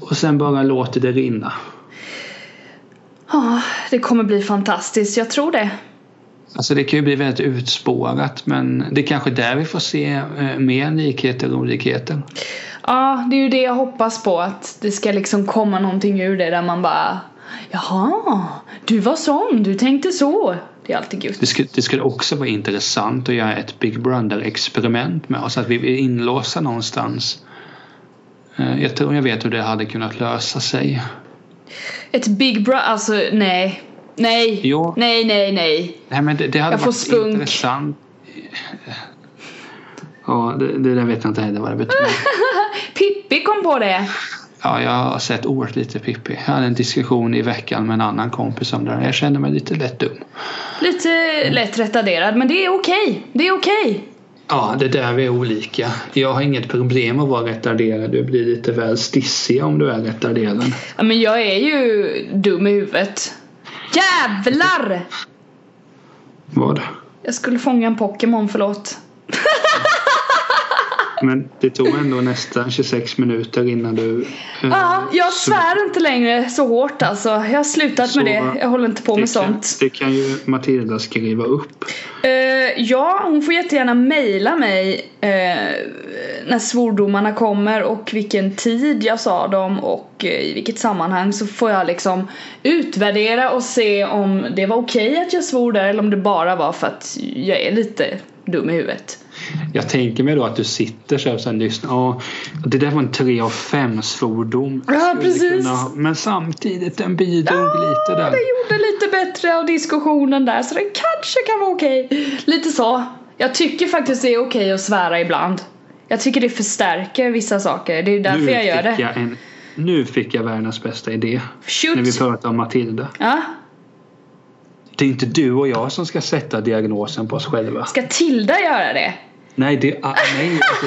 Speaker 1: Och sen bara låter det rinna.
Speaker 2: Ja, det kommer bli fantastiskt, jag tror det.
Speaker 1: Alltså det kan ju bli väldigt utspårat men det är kanske där vi får se eh, mer likheter och olikheter.
Speaker 2: Ja, det är ju det jag hoppas på att det ska liksom komma någonting ur det där man bara Jaha, du var sån, du tänkte så. Det är alltid gött.
Speaker 1: Det skulle, det skulle också vara intressant att göra ett Big Brother-experiment med oss. Att vi är inlåsta någonstans. Eh, Jag tror jag vet hur det hade kunnat lösa sig.
Speaker 2: Ett Big Brother, alltså nej. Nej,
Speaker 1: Jo.
Speaker 2: nej, nej, nej.
Speaker 1: Nej, men det, det hade
Speaker 2: Jag får
Speaker 1: varit
Speaker 2: spunk.
Speaker 1: intressant. Ja, det, det där vet jag inte heller vad det betyder.
Speaker 2: Pippi kom på det.
Speaker 1: Ja, jag har sett oerhört lite Pippi. Jag hade en diskussion i veckan med en annan kompis om det här. Jag kände mig lite lätt dum.
Speaker 2: Lite lätt retarderad, men det är okej. Det är okej.
Speaker 1: Ja, det där vi är olika. Jag har inget problem att vara retarderad. Du blir lite väl stissig om du är retarderad.
Speaker 2: Ja, men jag är ju dum i huvudet. Jävlar!
Speaker 1: Vad?
Speaker 2: Jag skulle fånga en Pokémon, förlåt.
Speaker 1: Men det tog ändå nästan 26 minuter innan du... eh,
Speaker 2: Ja, jag svär inte längre så hårt alltså. Jag har slutat med
Speaker 1: Så,
Speaker 2: det. Jag håller inte på med
Speaker 1: det, kan,
Speaker 2: sånt.
Speaker 1: det kan ju Matilda skriva upp.
Speaker 2: Eh, ja, hon får jättegärna mejla mig eh, när svordomarna kommer och vilken tid jag sa dem och eh, i vilket sammanhang så får jag liksom utvärdera och se om det var okej att jag svor där eller om det bara var för att jag är lite dum i huvudet.
Speaker 1: Jag tänker mig då att du sitter så här och sen lyssnar. Ja, det där var en 3 av 5 svordom.
Speaker 2: Ja,
Speaker 1: Skulle
Speaker 2: precis.
Speaker 1: kunna- men samtidigt den bidrog lite
Speaker 2: Ja,
Speaker 1: där.
Speaker 2: det gjorde lite bättre av diskussionen där så det kanske kan vara okej. Lite så. Jag tycker faktiskt det är okej att svära ibland. Jag tycker det förstärker vissa saker. Det är därför
Speaker 1: nu
Speaker 2: jag gör
Speaker 1: fick
Speaker 2: det.
Speaker 1: Jag en, nu fick jag världens bästa idé.
Speaker 2: Shoot!
Speaker 1: När vi pratar om Matilda.
Speaker 2: Ja.
Speaker 1: Det är inte du och jag som ska sätta diagnosen på oss själva.
Speaker 2: Ska Tilda göra det?
Speaker 1: Nej, det, ah, nej, alltså,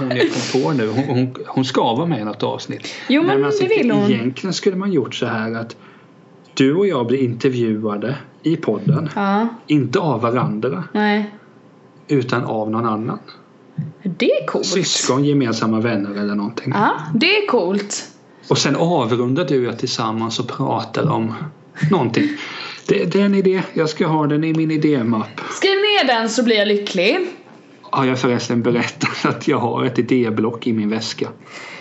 Speaker 1: det var hon jag kom på nu. Hon, hon, hon ska vara med i något avsnitt.
Speaker 2: Jo, men
Speaker 1: alltså,
Speaker 2: det vill hon.
Speaker 1: Egentligen skulle man gjort så här att du och jag blir intervjuade i podden.
Speaker 2: Ja,
Speaker 1: Inte av varandra,
Speaker 2: nej.
Speaker 1: utan av någon annan.
Speaker 2: Det är coolt.
Speaker 1: Syskon, gemensamma vänner eller någonting.
Speaker 2: Ja, det är coolt.
Speaker 1: Och sen avrundar du och jag tillsammans och pratar om någonting. Det, det är en idé. Jag ska ha den i min idémapp.
Speaker 2: Skriv ner den så blir jag lycklig.
Speaker 1: Har jag förresten berättat att jag har ett idéblock i min väska?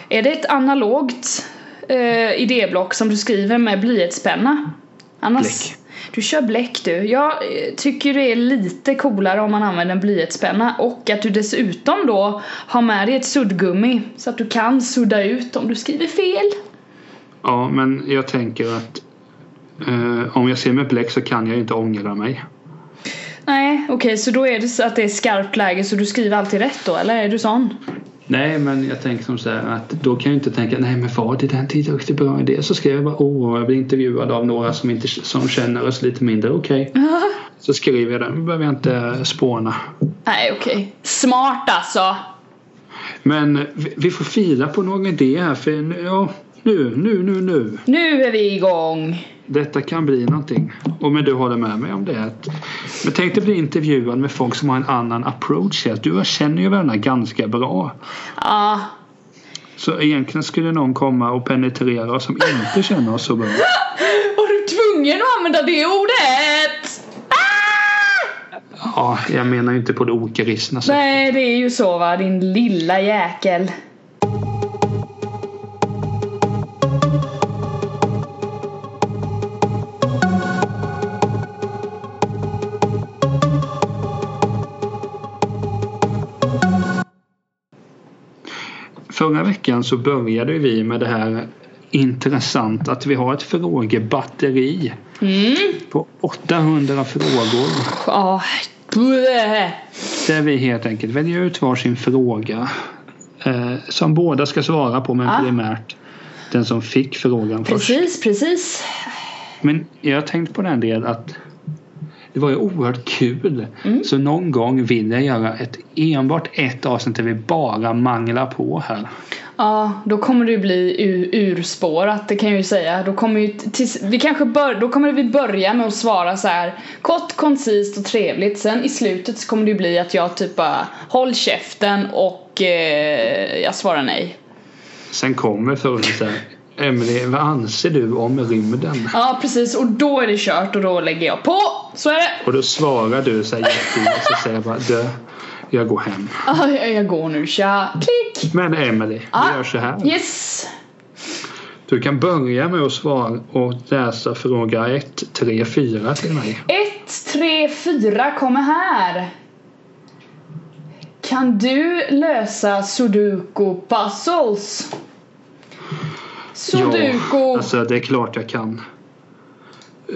Speaker 2: Är det ett analogt eh, idéblock som du skriver med blyertspenna? Annars...
Speaker 1: Bläck.
Speaker 2: Du kör bläck du. Jag eh, tycker det är lite coolare om man använder en blyertspenna och att du dessutom då har med dig ett suddgummi så att du kan sudda ut om du skriver fel.
Speaker 1: Ja, men jag tänker att eh, om jag ser med bläck så kan jag inte ångra mig.
Speaker 2: Nej, okej, så då är det så att det är skarpt läge så du skriver alltid rätt då, eller är du sån?
Speaker 1: Nej, men jag tänker som så här att då kan jag inte tänka nej men vad det där är en tillräckligt bra idé. Så skrev jag bara åh, jag blir intervjuad av några som, inte, som känner oss lite mindre. Okej. Så skriver jag den. Nu behöver jag inte spåna.
Speaker 2: Nej okej. Smart alltså!
Speaker 1: Men vi, vi får fila på någon idé här för nu- ja, nu, nu, nu, nu.
Speaker 2: Nu är vi igång!
Speaker 1: Detta kan bli någonting. Och men du håller med mig om det. Att, men tänk dig bli intervjuad med folk som har en annan approach. Att du känner ju varandra ganska bra.
Speaker 2: Ja,
Speaker 1: Så egentligen skulle någon komma och penetrera oss som inte känner oss så bra.
Speaker 2: var du tvungen att använda det ordet? Ah!
Speaker 1: Ja, jag menar ju inte på det okristna sättet.
Speaker 2: Nej, det är ju så va, din lilla jäkel.
Speaker 1: Förra veckan så började vi med det här intressant att vi har ett frågebatteri
Speaker 2: Mm.
Speaker 1: på 800 frågor
Speaker 2: Ja, bleh.
Speaker 1: där vi helt enkelt väljer ut varsin fråga eh, som båda ska svara på men
Speaker 2: Ja.
Speaker 1: primärt den som fick frågan först.
Speaker 2: Precis, precis.
Speaker 1: Men jag har tänkt på den del att det var ju oerhört kul. Så någon gång vill jag göra ett, enbart ett avsnitt där vi bara manglar på här.
Speaker 2: Ja, då kommer det ju bli u- urspårat, det kan jag ju säga. Då kommer, ju t- tills, vi kanske bör, då kommer vi börja med att svara så här kort, koncist och trevligt. Sen i slutet så kommer det ju bli att jag typ bara håll käften och eh, jag svarar nej.
Speaker 1: Sen kommer frågan så här. Emily, vad anser du om rymden?
Speaker 2: Ja, precis. Och då är det kört och då lägger jag på. Så är det.
Speaker 1: Och då svarar du så här jättefint och så säger jag bara du, jag går hem.
Speaker 2: Ja, jag- jag går nu. Tja, klick!
Speaker 1: Men Emily,
Speaker 2: Ja.
Speaker 1: vi gör så här.
Speaker 2: Yes!
Speaker 1: Du kan börja med att svara och läsa fråga 1, 3, 4 till mig.
Speaker 2: 1, 3, 4 kommer här. Kan du lösa sudoku puzzles? Sudoku.
Speaker 1: alltså det är klart jag kan.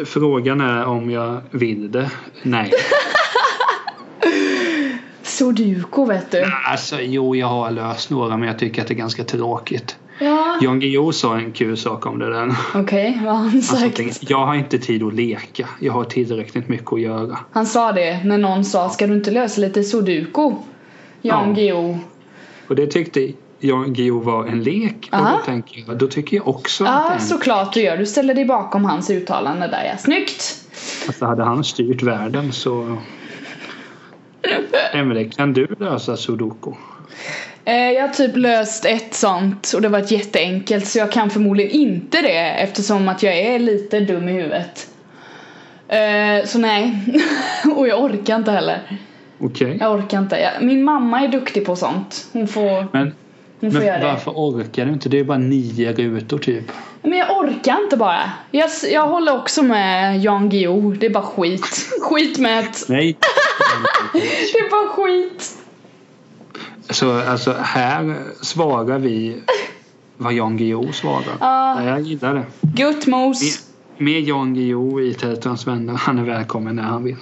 Speaker 1: Frågan är om jag vill det. Nej.
Speaker 2: Sudoku vet du.
Speaker 1: Alltså jo, jag har löst några men jag tycker att det är ganska tråkigt.
Speaker 2: Ja.
Speaker 1: Jan Guillou sa en kul sak om det där.
Speaker 2: Okej, vad har han
Speaker 1: Han sa
Speaker 2: sagt?
Speaker 1: någonting, jag har inte tid att leka. Jag har tillräckligt mycket att göra.
Speaker 2: Han sa det när någon sa ska du inte lösa lite sudoku? Jan
Speaker 1: Ja.
Speaker 2: Guillou.
Speaker 1: Och det tyckte Jan Guillou var en lek. Och
Speaker 2: Aha.
Speaker 1: då, tänker jag, då tycker jag också att det är
Speaker 2: Ja,
Speaker 1: en
Speaker 2: såklart du gör. Du ställer dig bakom hans uttalande där ja. Snyggt!
Speaker 1: Alltså hade han styrt världen så... Emelie, kan du lösa sudoku?
Speaker 2: Eh, Jag har typ löst ett sånt och det var ett jätteenkelt så jag kan förmodligen inte det eftersom att jag är lite dum i huvudet. Eh, Så nej. och jag orkar inte heller.
Speaker 1: Okej.
Speaker 2: Jag orkar inte. Jag, min mamma är duktig på sånt. Hon får,
Speaker 1: Men,
Speaker 2: hon får göra
Speaker 1: men
Speaker 2: det.
Speaker 1: varför orkar du inte? Det är ju bara nio rutor typ.
Speaker 2: Men jag orkar inte bara. Jag, s- jag håller också med Jan Guillou. Det är bara skit. skit med ett.
Speaker 1: Nej.
Speaker 2: Det är bara skit.
Speaker 1: Så alltså här svarar vi vad Jan Guillou svarar.
Speaker 2: Ja.
Speaker 1: Jag gillar det.
Speaker 2: Guttmos.
Speaker 1: Med Jan Guillou i Tältrans vänner. Han är välkommen när han vill.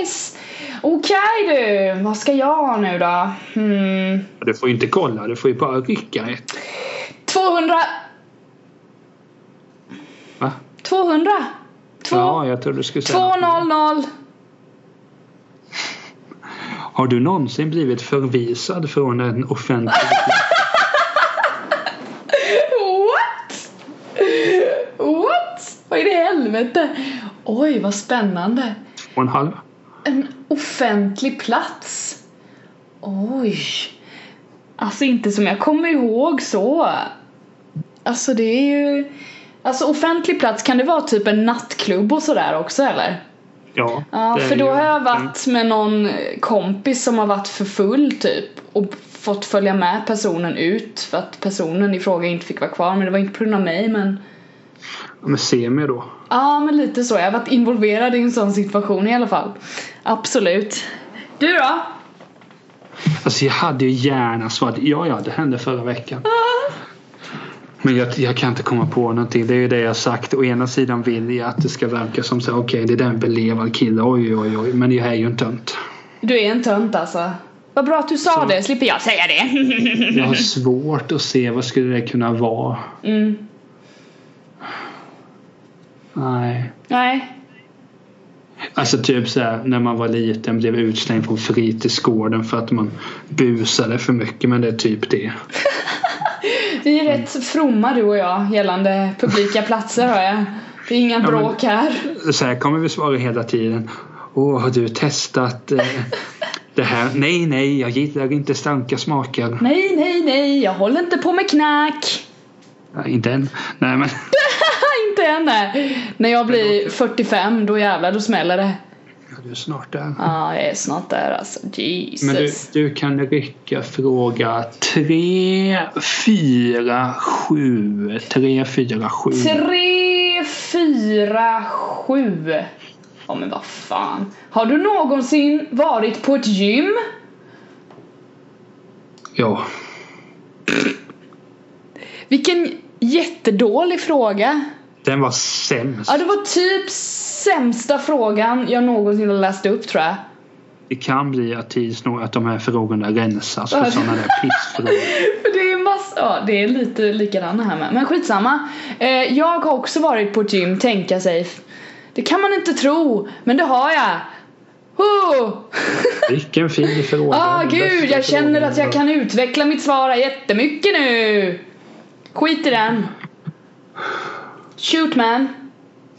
Speaker 2: Yes! Okej du. Vad ska jag ha nu då? Hmm.
Speaker 1: Du får ju inte kolla, du får ju bara rycka ett.
Speaker 2: 200!
Speaker 1: Va?
Speaker 2: 200!
Speaker 1: Ja,
Speaker 2: 2,
Speaker 1: jag trodde du skulle säga
Speaker 2: 200!
Speaker 1: Har du någonsin blivit förvisad från en offentlig
Speaker 2: What? What? Vad i det helvete? Oj, vad spännande.
Speaker 1: och en halv?
Speaker 2: En offentlig plats. Oj. Alltså inte som jag kommer ihåg så. Alltså det är ju... Alltså offentlig plats, kan det vara typ en nattklubb och sådär också eller?
Speaker 1: Ja,
Speaker 2: Ja,
Speaker 1: det är
Speaker 2: för då
Speaker 1: ju-
Speaker 2: har jag varit med någon kompis som har varit för full typ och fått följa med personen ut för att personen i fråga inte fick vara kvar men det var inte på grund av mig men
Speaker 1: Men se mig då.
Speaker 2: ja men lite så, jag har varit involverad i en sån situation i alla fall. Absolut. Du då?
Speaker 1: Alltså jag hade ju gärna svarat ja, ja, det hände förra veckan. Men jag, jag kan inte komma på någonting. Det är ju det jag sagt. Å ena sidan vill jag att det ska verka som så här, okej, det där är en belevad kille. Oj, oj, oj. Men jag är ju en tönt.
Speaker 2: Du är en tönt alltså. Vad bra att du sa det, slipper jag säga det.
Speaker 1: Jag har svårt att se vad skulle det kunna vara.
Speaker 2: Mm.
Speaker 1: Nej.
Speaker 2: Nej.
Speaker 1: Alltså typ så här, när man var liten blev utslängd från fritidsgården för att man busade för mycket. Men det är typ det.
Speaker 2: Vi är
Speaker 1: Mm.
Speaker 2: rätt fromma du och jag gällande publika platser hör jag. Det är inga
Speaker 1: men-
Speaker 2: bråk här.
Speaker 1: Så här kommer vi svara hela tiden. Åh, har du testat eh, det här? Nej, nej, jag gillar inte starka smaker.
Speaker 2: Nej, nej, nej, jag håller inte på med knack.
Speaker 1: Nej, inte än. Nej, men
Speaker 2: Inte än nej. När jag blir 45, då jävlar, då smäller det.
Speaker 1: Ja, du är snart där.
Speaker 2: Ja, jag är snart där alltså. Jesus.
Speaker 1: Men du, du kan rycka fråga 3, 4, 7. 3, 4, 7.
Speaker 2: 3, 4, 7. Ja men vad fan. Har du någonsin varit på ett gym?
Speaker 1: Ja.
Speaker 2: Vilken jättedålig fråga.
Speaker 1: Den var sämst.
Speaker 2: Ja, det var typ sämsta frågan jag någonsin har läst upp tror jag.
Speaker 1: Det kan bli att tids nog att de här frågorna rensas
Speaker 2: Ja,
Speaker 1: för
Speaker 2: det-
Speaker 1: sådana där pissfrågor.
Speaker 2: För Det är massa, ja det är lite likadana här med. Men skitsamma. Eh, jag har också varit på ett gym, tänka sig. Det kan man inte tro, men det har jag. Oh!
Speaker 1: Vilken fin fråga.
Speaker 2: Ah
Speaker 1: Den bästa
Speaker 2: gud, jag känner
Speaker 1: frågan
Speaker 2: att jag kan utveckla mitt svar här jättemycket nu! Skit i den. Shoot man.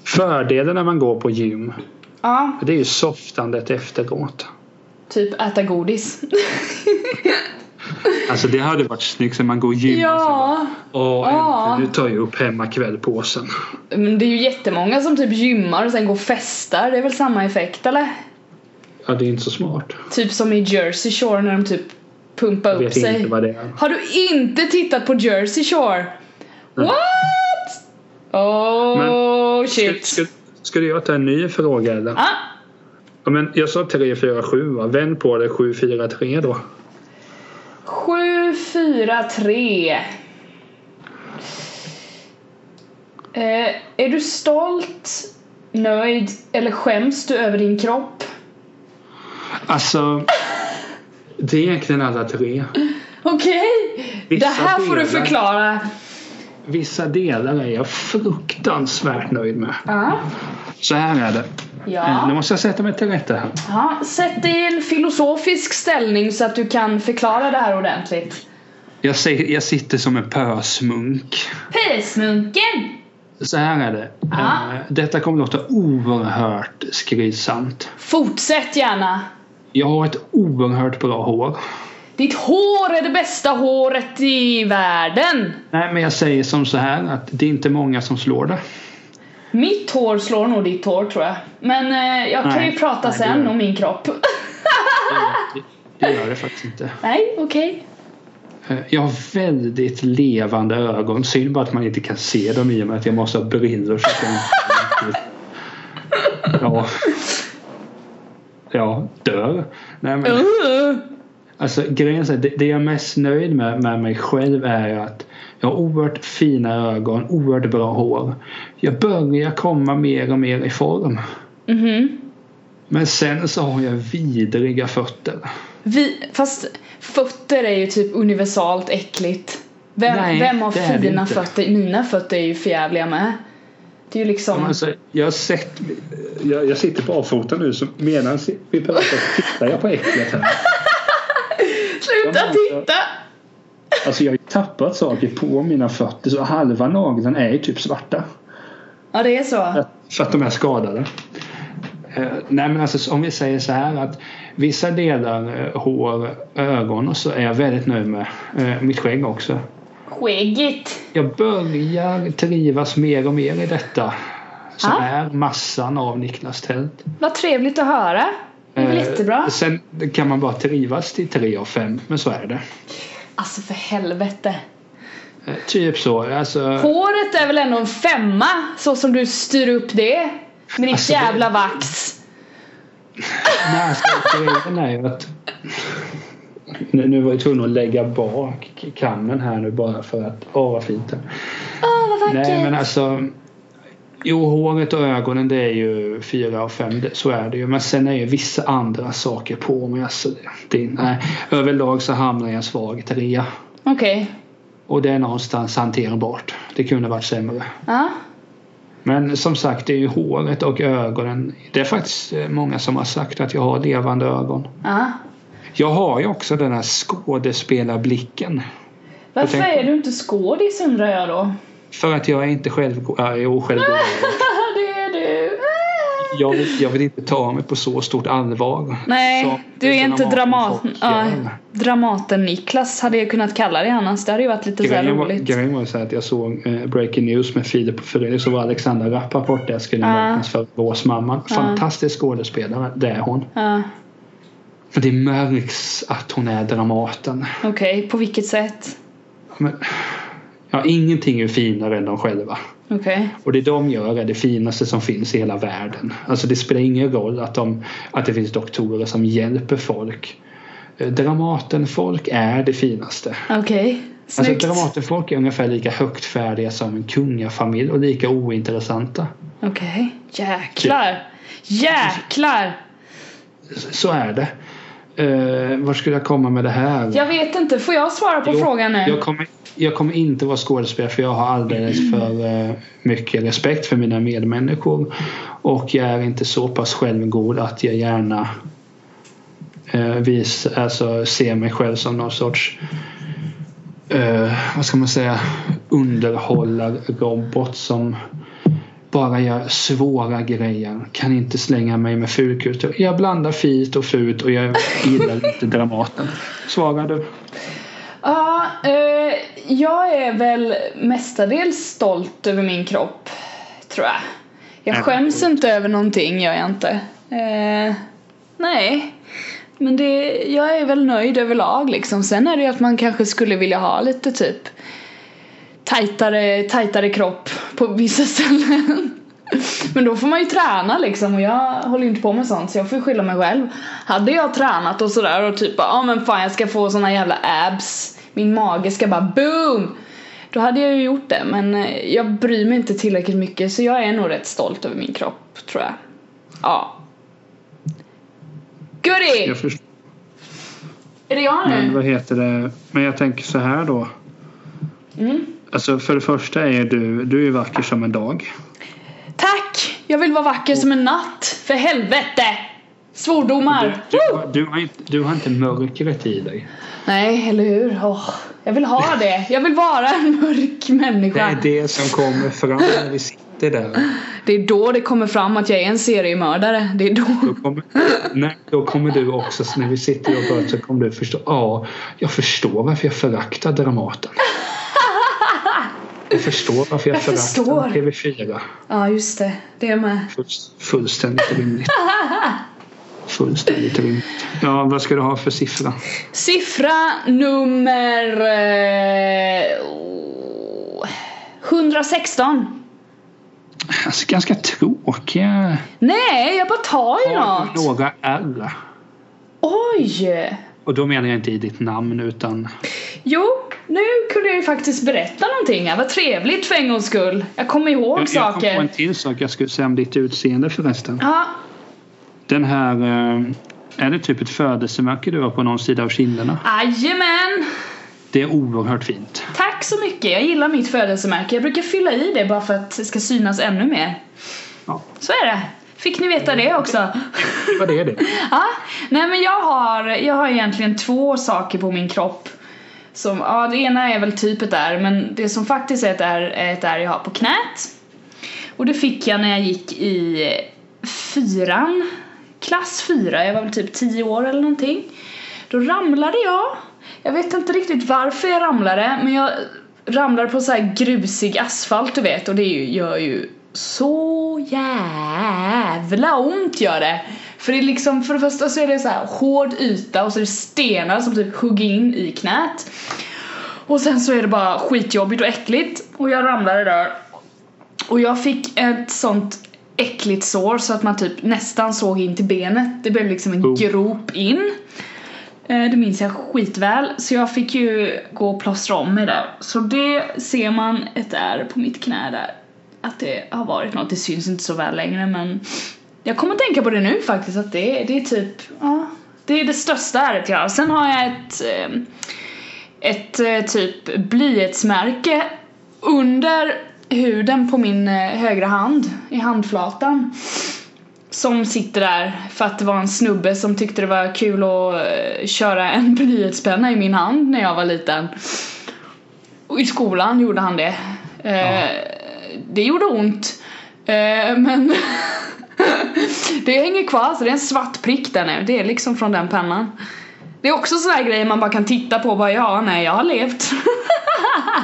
Speaker 1: Fördelen när man går på gym,
Speaker 2: Ja,
Speaker 1: det är ju softandet efteråt.
Speaker 2: typ äta godis.
Speaker 1: Alltså det hade varit snyggt när man går gym och sen bara,
Speaker 2: ja,
Speaker 1: Åh,
Speaker 2: Ja.
Speaker 1: äntligen, nu tar jag upp hemmakvällpåsen.
Speaker 2: men det är ju jättemånga som typ gymmar och sen går och festar. Det är väl samma effekt eller?
Speaker 1: Ja, det är inte så smart.
Speaker 2: Typ som i Jersey Shore när de typ pumpar
Speaker 1: Jag
Speaker 2: upp
Speaker 1: vet
Speaker 2: sig.
Speaker 1: inte vad det är.
Speaker 2: Har du inte tittat på Jersey Shore? What? Oh shit.
Speaker 1: Ska, ska du ta en ny fråga eller?
Speaker 2: Ah,
Speaker 1: Ja, men jag sa 347 va? Vänd på det 743 då.
Speaker 2: 7, 4, 3. Eh, är du stolt, nöjd eller skäms du över din kropp?
Speaker 1: Alltså, det är egentligen alla tre.
Speaker 2: Okej, det
Speaker 1: Vissa
Speaker 2: här får du
Speaker 1: delar.
Speaker 2: förklara.
Speaker 1: Vissa delar är jag fruktansvärt nöjd med.
Speaker 2: Ah,
Speaker 1: Så här är det. Eh, Nu
Speaker 2: ja.
Speaker 1: måste jag sätta mig till rätta här.
Speaker 2: Ja, sätt dig i en filosofisk ställning så att du kan förklara det här ordentligt.
Speaker 1: Jag, säger, jag sitter som en pösmunk.
Speaker 2: Pösmunken!
Speaker 1: Så här är det.
Speaker 2: Ja.
Speaker 1: Eh, Detta kommer låta oerhört skrytsamt.
Speaker 2: Fortsätt gärna.
Speaker 1: Jag har ett oerhört bra hår.
Speaker 2: Ditt hår är det bästa håret i världen.
Speaker 1: Nej, men jag säger som så här att det är inte många som slår det.
Speaker 2: Mitt hår slår nog ditt hår tror jag. Men eh, jag kan
Speaker 1: Nej.
Speaker 2: ju prata
Speaker 1: Nej, det gör
Speaker 2: sen
Speaker 1: det.
Speaker 2: om min kropp.
Speaker 1: Det, det gör det faktiskt inte.
Speaker 2: Nej, okej.
Speaker 1: Eh, Jag har väldigt levande ögon. Synd bara att man inte kan se dem i och med att jag måste ha brillor. Så att jag inte riktigt- ja. Ja, dör. Nej, men...
Speaker 2: Uh.
Speaker 1: Alltså grejen är så här, det, det jag är mest nöjd med, med mig själv är att jag har oerhört fina ögon, oerhört bra hår. Jag börjar komma mer och mer i form.
Speaker 2: Mhm.
Speaker 1: Men sen så har jag vidriga fötter.
Speaker 2: Vi, fast fötter är ju typ universalt äckligt. Vem,
Speaker 1: Nej,
Speaker 2: vem har
Speaker 1: det är det
Speaker 2: fina
Speaker 1: inte.
Speaker 2: fötter? Mina fötter är ju förjävliga med. Det är ju liksom...
Speaker 1: Alltså, jag, har sett, jag, jag sitter på avfoten nu så medan vi pratar tittar jag på äcklet här.
Speaker 2: Sluta
Speaker 1: de-
Speaker 2: titta!
Speaker 1: Alltså jag har ju tappat saker på mina fötter så halva nageln är ju typ svarta.
Speaker 2: Ja, det är så.
Speaker 1: För att de är skadade. Eh, nej men alltså om vi säger så här att vissa delar, eh, hår, ögon och så är jag väldigt nöjd med. Eh, mitt skägg också.
Speaker 2: Skäggigt.
Speaker 1: Jag börjar trivas mer och mer i detta. Som
Speaker 2: Ah.
Speaker 1: är massan av Niklas Tält.
Speaker 2: Vad trevligt att höra. Det är väl Mm, jättebra.
Speaker 1: Eh, Sen kan man bara trivas till tre av fem, men så är det.
Speaker 2: Alltså för helvete.
Speaker 1: Eh, typ så. Alltså,
Speaker 2: Håret är väl ändå en femma så som du styr upp det. Med ditt
Speaker 1: Alltså, det-
Speaker 2: jävla vax.
Speaker 1: Nej, alltså, grejen är ju att... Nu, nu var jag tvungen att lägga bak kammen här nu bara för att... Åh, vad fint det är.
Speaker 2: Åh vad vackert.
Speaker 1: Nej, men alltså... Jo, håret och ögonen det är ju fyra av fem, det- så är det ju. Men sen är ju vissa andra saker på mig. Alltså, det, det, nej. Överlag så hamnar jag i en svag trea.
Speaker 2: Okej.
Speaker 1: Och det är någonstans hanterbart. Det kunde varit sämre.
Speaker 2: Ja.
Speaker 1: Men som sagt, det är ju håret och ögonen. Det är faktiskt eh, många som har sagt att jag har levande ögon.
Speaker 2: Ja.
Speaker 1: Jag har ju också den här skådespelarblicken.
Speaker 2: Varför
Speaker 1: Jag tänkte-
Speaker 2: är du inte skådis undrar jag då?
Speaker 1: För att jag är inte självgod. Äh, jo, självgod.
Speaker 2: Haha, det är du. Ah.
Speaker 1: Jag vill, jag vill inte ta mig på så stort allvar.
Speaker 2: Nej,
Speaker 1: som
Speaker 2: du är inte dramat...
Speaker 1: folk
Speaker 2: Ja,
Speaker 1: gör.
Speaker 2: Dramaten-Niklas hade jag kunnat kalla dig annars. Det hade ju varit lite så här
Speaker 1: Grejen var,
Speaker 2: roligt.
Speaker 1: grejen var ju så här att jag såg eh, Breaking News med Filip och Fredrik så var Alexandra Rappaport där skulle
Speaker 2: Ah.
Speaker 1: marknadsföra Båsmamman. Fantastisk skådespelare, det är hon.
Speaker 2: Ja.
Speaker 1: Men det märks att hon är Dramaten.
Speaker 2: Okej, på vilket sätt?
Speaker 1: Men, ja, ingenting är finare än de själva.
Speaker 2: Okej.
Speaker 1: Och det de gör är det finaste som finns i hela världen. Alltså det spelar ingen roll att, de, att det finns doktorer som hjälper folk. Eh, Dramatenfolk är det finaste.
Speaker 2: Okej.
Speaker 1: Alltså
Speaker 2: Snyggt.
Speaker 1: Dramatenfolk är ungefär lika högtfärdiga som en kungafamilj och lika ointressanta.
Speaker 2: Okej. Jäklar. Jäklar.
Speaker 1: S- Så är det. Eh, var skulle jag komma med det här?
Speaker 2: Jag vet inte, får jag svara på
Speaker 1: Jo,
Speaker 2: frågan nu?
Speaker 1: Jag kommer, jag kommer inte vara skådespelare för jag har alldeles för eh, mycket respekt för mina medmänniskor. Och jag är inte så pass självgod att jag gärna eh, vis, alltså, ser mig själv som någon sorts eh, vad ska man säga underhållarrobot som bara gör svåra grejer. Kan inte slänga mig med fulkultur. Jag blandar fint och fult och jag gillar inte Dramaten. Svarar du?
Speaker 2: Ja, eh, jag är väl mestadels stolt över min kropp, tror jag. Jag
Speaker 1: Mm.
Speaker 2: skäms inte över någonting, gör jag inte. Eh, nej, men det, jag är väl nöjd överlag liksom. Sen är det ju att man kanske skulle vilja ha lite typ tajtare, tajtare kropp på vissa ställen. Men då får man ju träna liksom och jag håller ju inte på med sånt så jag får ju skylla mig själv. Hade jag tränat och sådär och typ ja ah, men fan jag ska få såna jävla abs, min mage ska bara boom! Då hade jag ju gjort det men eh, jag bryr mig inte tillräckligt mycket så jag är nog rätt stolt över min kropp tror jag. Ja. Goodie!
Speaker 1: Jag förstår.
Speaker 2: Är det jag
Speaker 1: Men
Speaker 2: nu?
Speaker 1: vad heter Mm, det? Men jag tänker så här då.
Speaker 2: Mm.
Speaker 1: Alltså för det första är du, du är vacker som en dag.
Speaker 2: Tack! Jag vill vara vacker som en natt, för helvete! Svordomar!
Speaker 1: Du,
Speaker 2: Woo!
Speaker 1: har- du, har inte, du har inte mörkret i dig.
Speaker 2: Nej, eller hur? Åh, jag vill ha det. Jag vill vara en mörk
Speaker 1: Det
Speaker 2: människa.
Speaker 1: är det som kommer fram när vi sitter där.
Speaker 2: Det är då det kommer fram att jag är en seriemördare. Det är då.
Speaker 1: Då kommer, nej, då kommer du också, så när vi sitter och pratar så kommer du förstå. Ja, jag förstår varför jag föraktar Dramaten. Jag förstår varför jag,
Speaker 2: Jag
Speaker 1: föraktar
Speaker 2: förstår.
Speaker 1: TV4.
Speaker 2: Ja, just det. Det är med.
Speaker 1: Full, fullständigt rimligt. Fullständigt rimligt. Ja, vad ska du ha för siffra?
Speaker 2: Siffra nummer... Eh, oh, 116.
Speaker 1: Alltså, ganska tråkiga.
Speaker 2: Nej, jag bara tar ju
Speaker 1: Har du
Speaker 2: något.
Speaker 1: några R?
Speaker 2: Oj!
Speaker 1: Och då menar jag inte i ditt namn utan
Speaker 2: Jo, nu kunde jag ju faktiskt berätta någonting här. Vad trevligt för en gångs skull. Jag kommer ihåg
Speaker 1: jag, jag kom
Speaker 2: saker.
Speaker 1: på en till sak jag skulle säga om ditt utseende förresten.
Speaker 2: Ja,
Speaker 1: Den här, eh, är det typ ett födelsemärke du har på någon sida av kinderna?
Speaker 2: Jajamän!
Speaker 1: Det är oerhört fint.
Speaker 2: Tack så mycket, jag gillar mitt födelsemärke. Jag brukar fylla i det bara för att det ska synas ännu mer.
Speaker 1: Ja.
Speaker 2: Så är det. Fick ni veta det också?
Speaker 1: Vad är det?
Speaker 2: Ja, nej men jag har, jag har egentligen två saker på min kropp. Som, ja, det ena är väl typ ett ärr, men det som faktiskt är ett ärr är ett ärr jag har på knät. Och det fick jag när jag gick i fyran, klass fyra, jag var väl typ tio år eller någonting. Då ramlade jag, jag vet inte riktigt varför jag ramlade, men jag ramlade på så här grusig asfalt du vet och det är ju- gör ju så jävla ont gör det. För det är liksom, för det första så är det så här hård yta och så är det stenar som typ hugger in i knät. Och sen så är det bara skitjobbigt och äckligt och jag ramlade där. Och jag fick ett sånt äckligt sår så att man typ nästan såg in till benet. Det blev liksom en
Speaker 1: Oh.
Speaker 2: grop in. Eh, Det minns jag skitväl. Så jag fick ju gå och plåstra om mig där. Så det ser man ett ärr på mitt knä där. Att det har varit något. Det syns inte så väl längre men jag kommer att tänka på det nu faktiskt. Att det, det är typ, ja. Det är det största ärret jag har. Sen har jag ett eh, ett eh, typ blyertsmärke under huden på min eh, högra hand, i handflatan. Som sitter där för att det var en snubbe som tyckte det var kul att eh, köra en blyertspenna i min hand när jag var liten. Och I skolan gjorde han det. Eh, Det gjorde ont. Eh, men det hänger kvar så det är en svart prick där nu. Det är liksom från den pennan. Det är också sådana grejer man bara kan titta på och bara ja, nej jag har levt.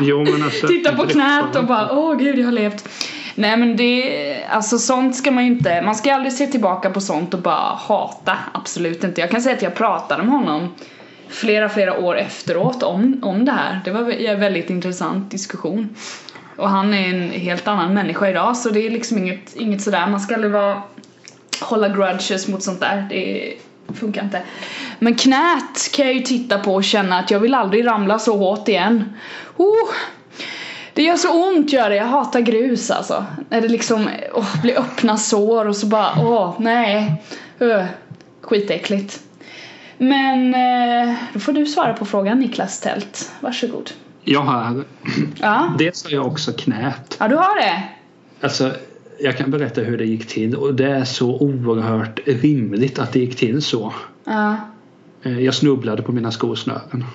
Speaker 1: Jo, men alltså,
Speaker 2: titta på knät och bara åh gud jag har levt. Nej men det, alltså sånt ska man ju inte, man ska aldrig se tillbaka på sånt och bara hata. Absolut inte. Jag kan säga att jag pratade med honom flera, flera år efteråt om, om det här. Det var vä- en väldigt intressant diskussion. Och han är en helt annan människa idag så det är liksom inget, inget sådär, man ska aldrig vara hålla grudges mot sånt där. Det funkar inte. Men knät kan jag ju titta på och känna att jag vill aldrig ramla så hårt igen. Oh, det gör så ont gör det. Jag hatar grus alltså. När det liksom åh, blir öppna sår och så bara åh, nej. Öh, skitäckligt. Men eh, då får du svara på frågan Niklas Tält. Varsågod.
Speaker 1: Jag har,
Speaker 2: Ja,
Speaker 1: dels har jag också knät.
Speaker 2: ja du har det.
Speaker 1: Alltså, jag kan berätta hur det gick till och det är så oerhört rimligt att det gick till så.
Speaker 2: Ja.
Speaker 1: Eh, Jag snubblade på mina skosnören.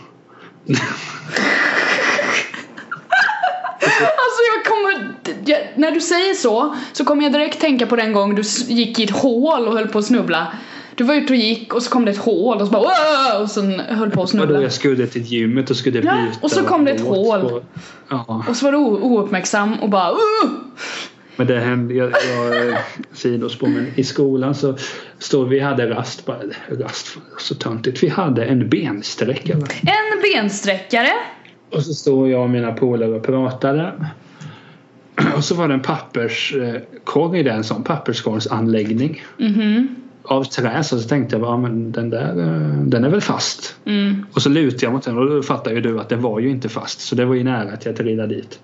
Speaker 2: Alltså jag kommer, jag, när du säger så så kommer jag direkt tänka på den gång du s- gick i ett hål och höll på att snubbla. Du var ute och gick och så kom det ett hål och så bara "Åh!" och sen höll på att
Speaker 1: Vadå,
Speaker 2: snubbla.
Speaker 1: jag skulle till gymmet och skulle
Speaker 2: Ja,
Speaker 1: byta.
Speaker 2: och så kom det ett
Speaker 1: låt.
Speaker 2: hål.
Speaker 1: Ja,
Speaker 2: Och så var du o- ouppmärksam och bara "Åh!"
Speaker 1: men det hände. Jag, jag eh, sidospår. Men i skolan så stod vi hade rast. bara- Rast, så töntigt. Vi hade en bensträckare.
Speaker 2: En bensträckare.
Speaker 1: Och så stod jag och mina polare och pratade. Och så var det en papperskorg i den, en sån papperskorgsanläggning.
Speaker 2: Mhm.
Speaker 1: Av trä så tänkte jag, ja men den där, eh, den är väl fast.
Speaker 2: Mm.
Speaker 1: Och så lutade jag mot den och då fattade ju du att den var ju inte fast. Så det var ju nära att jag trillade dit.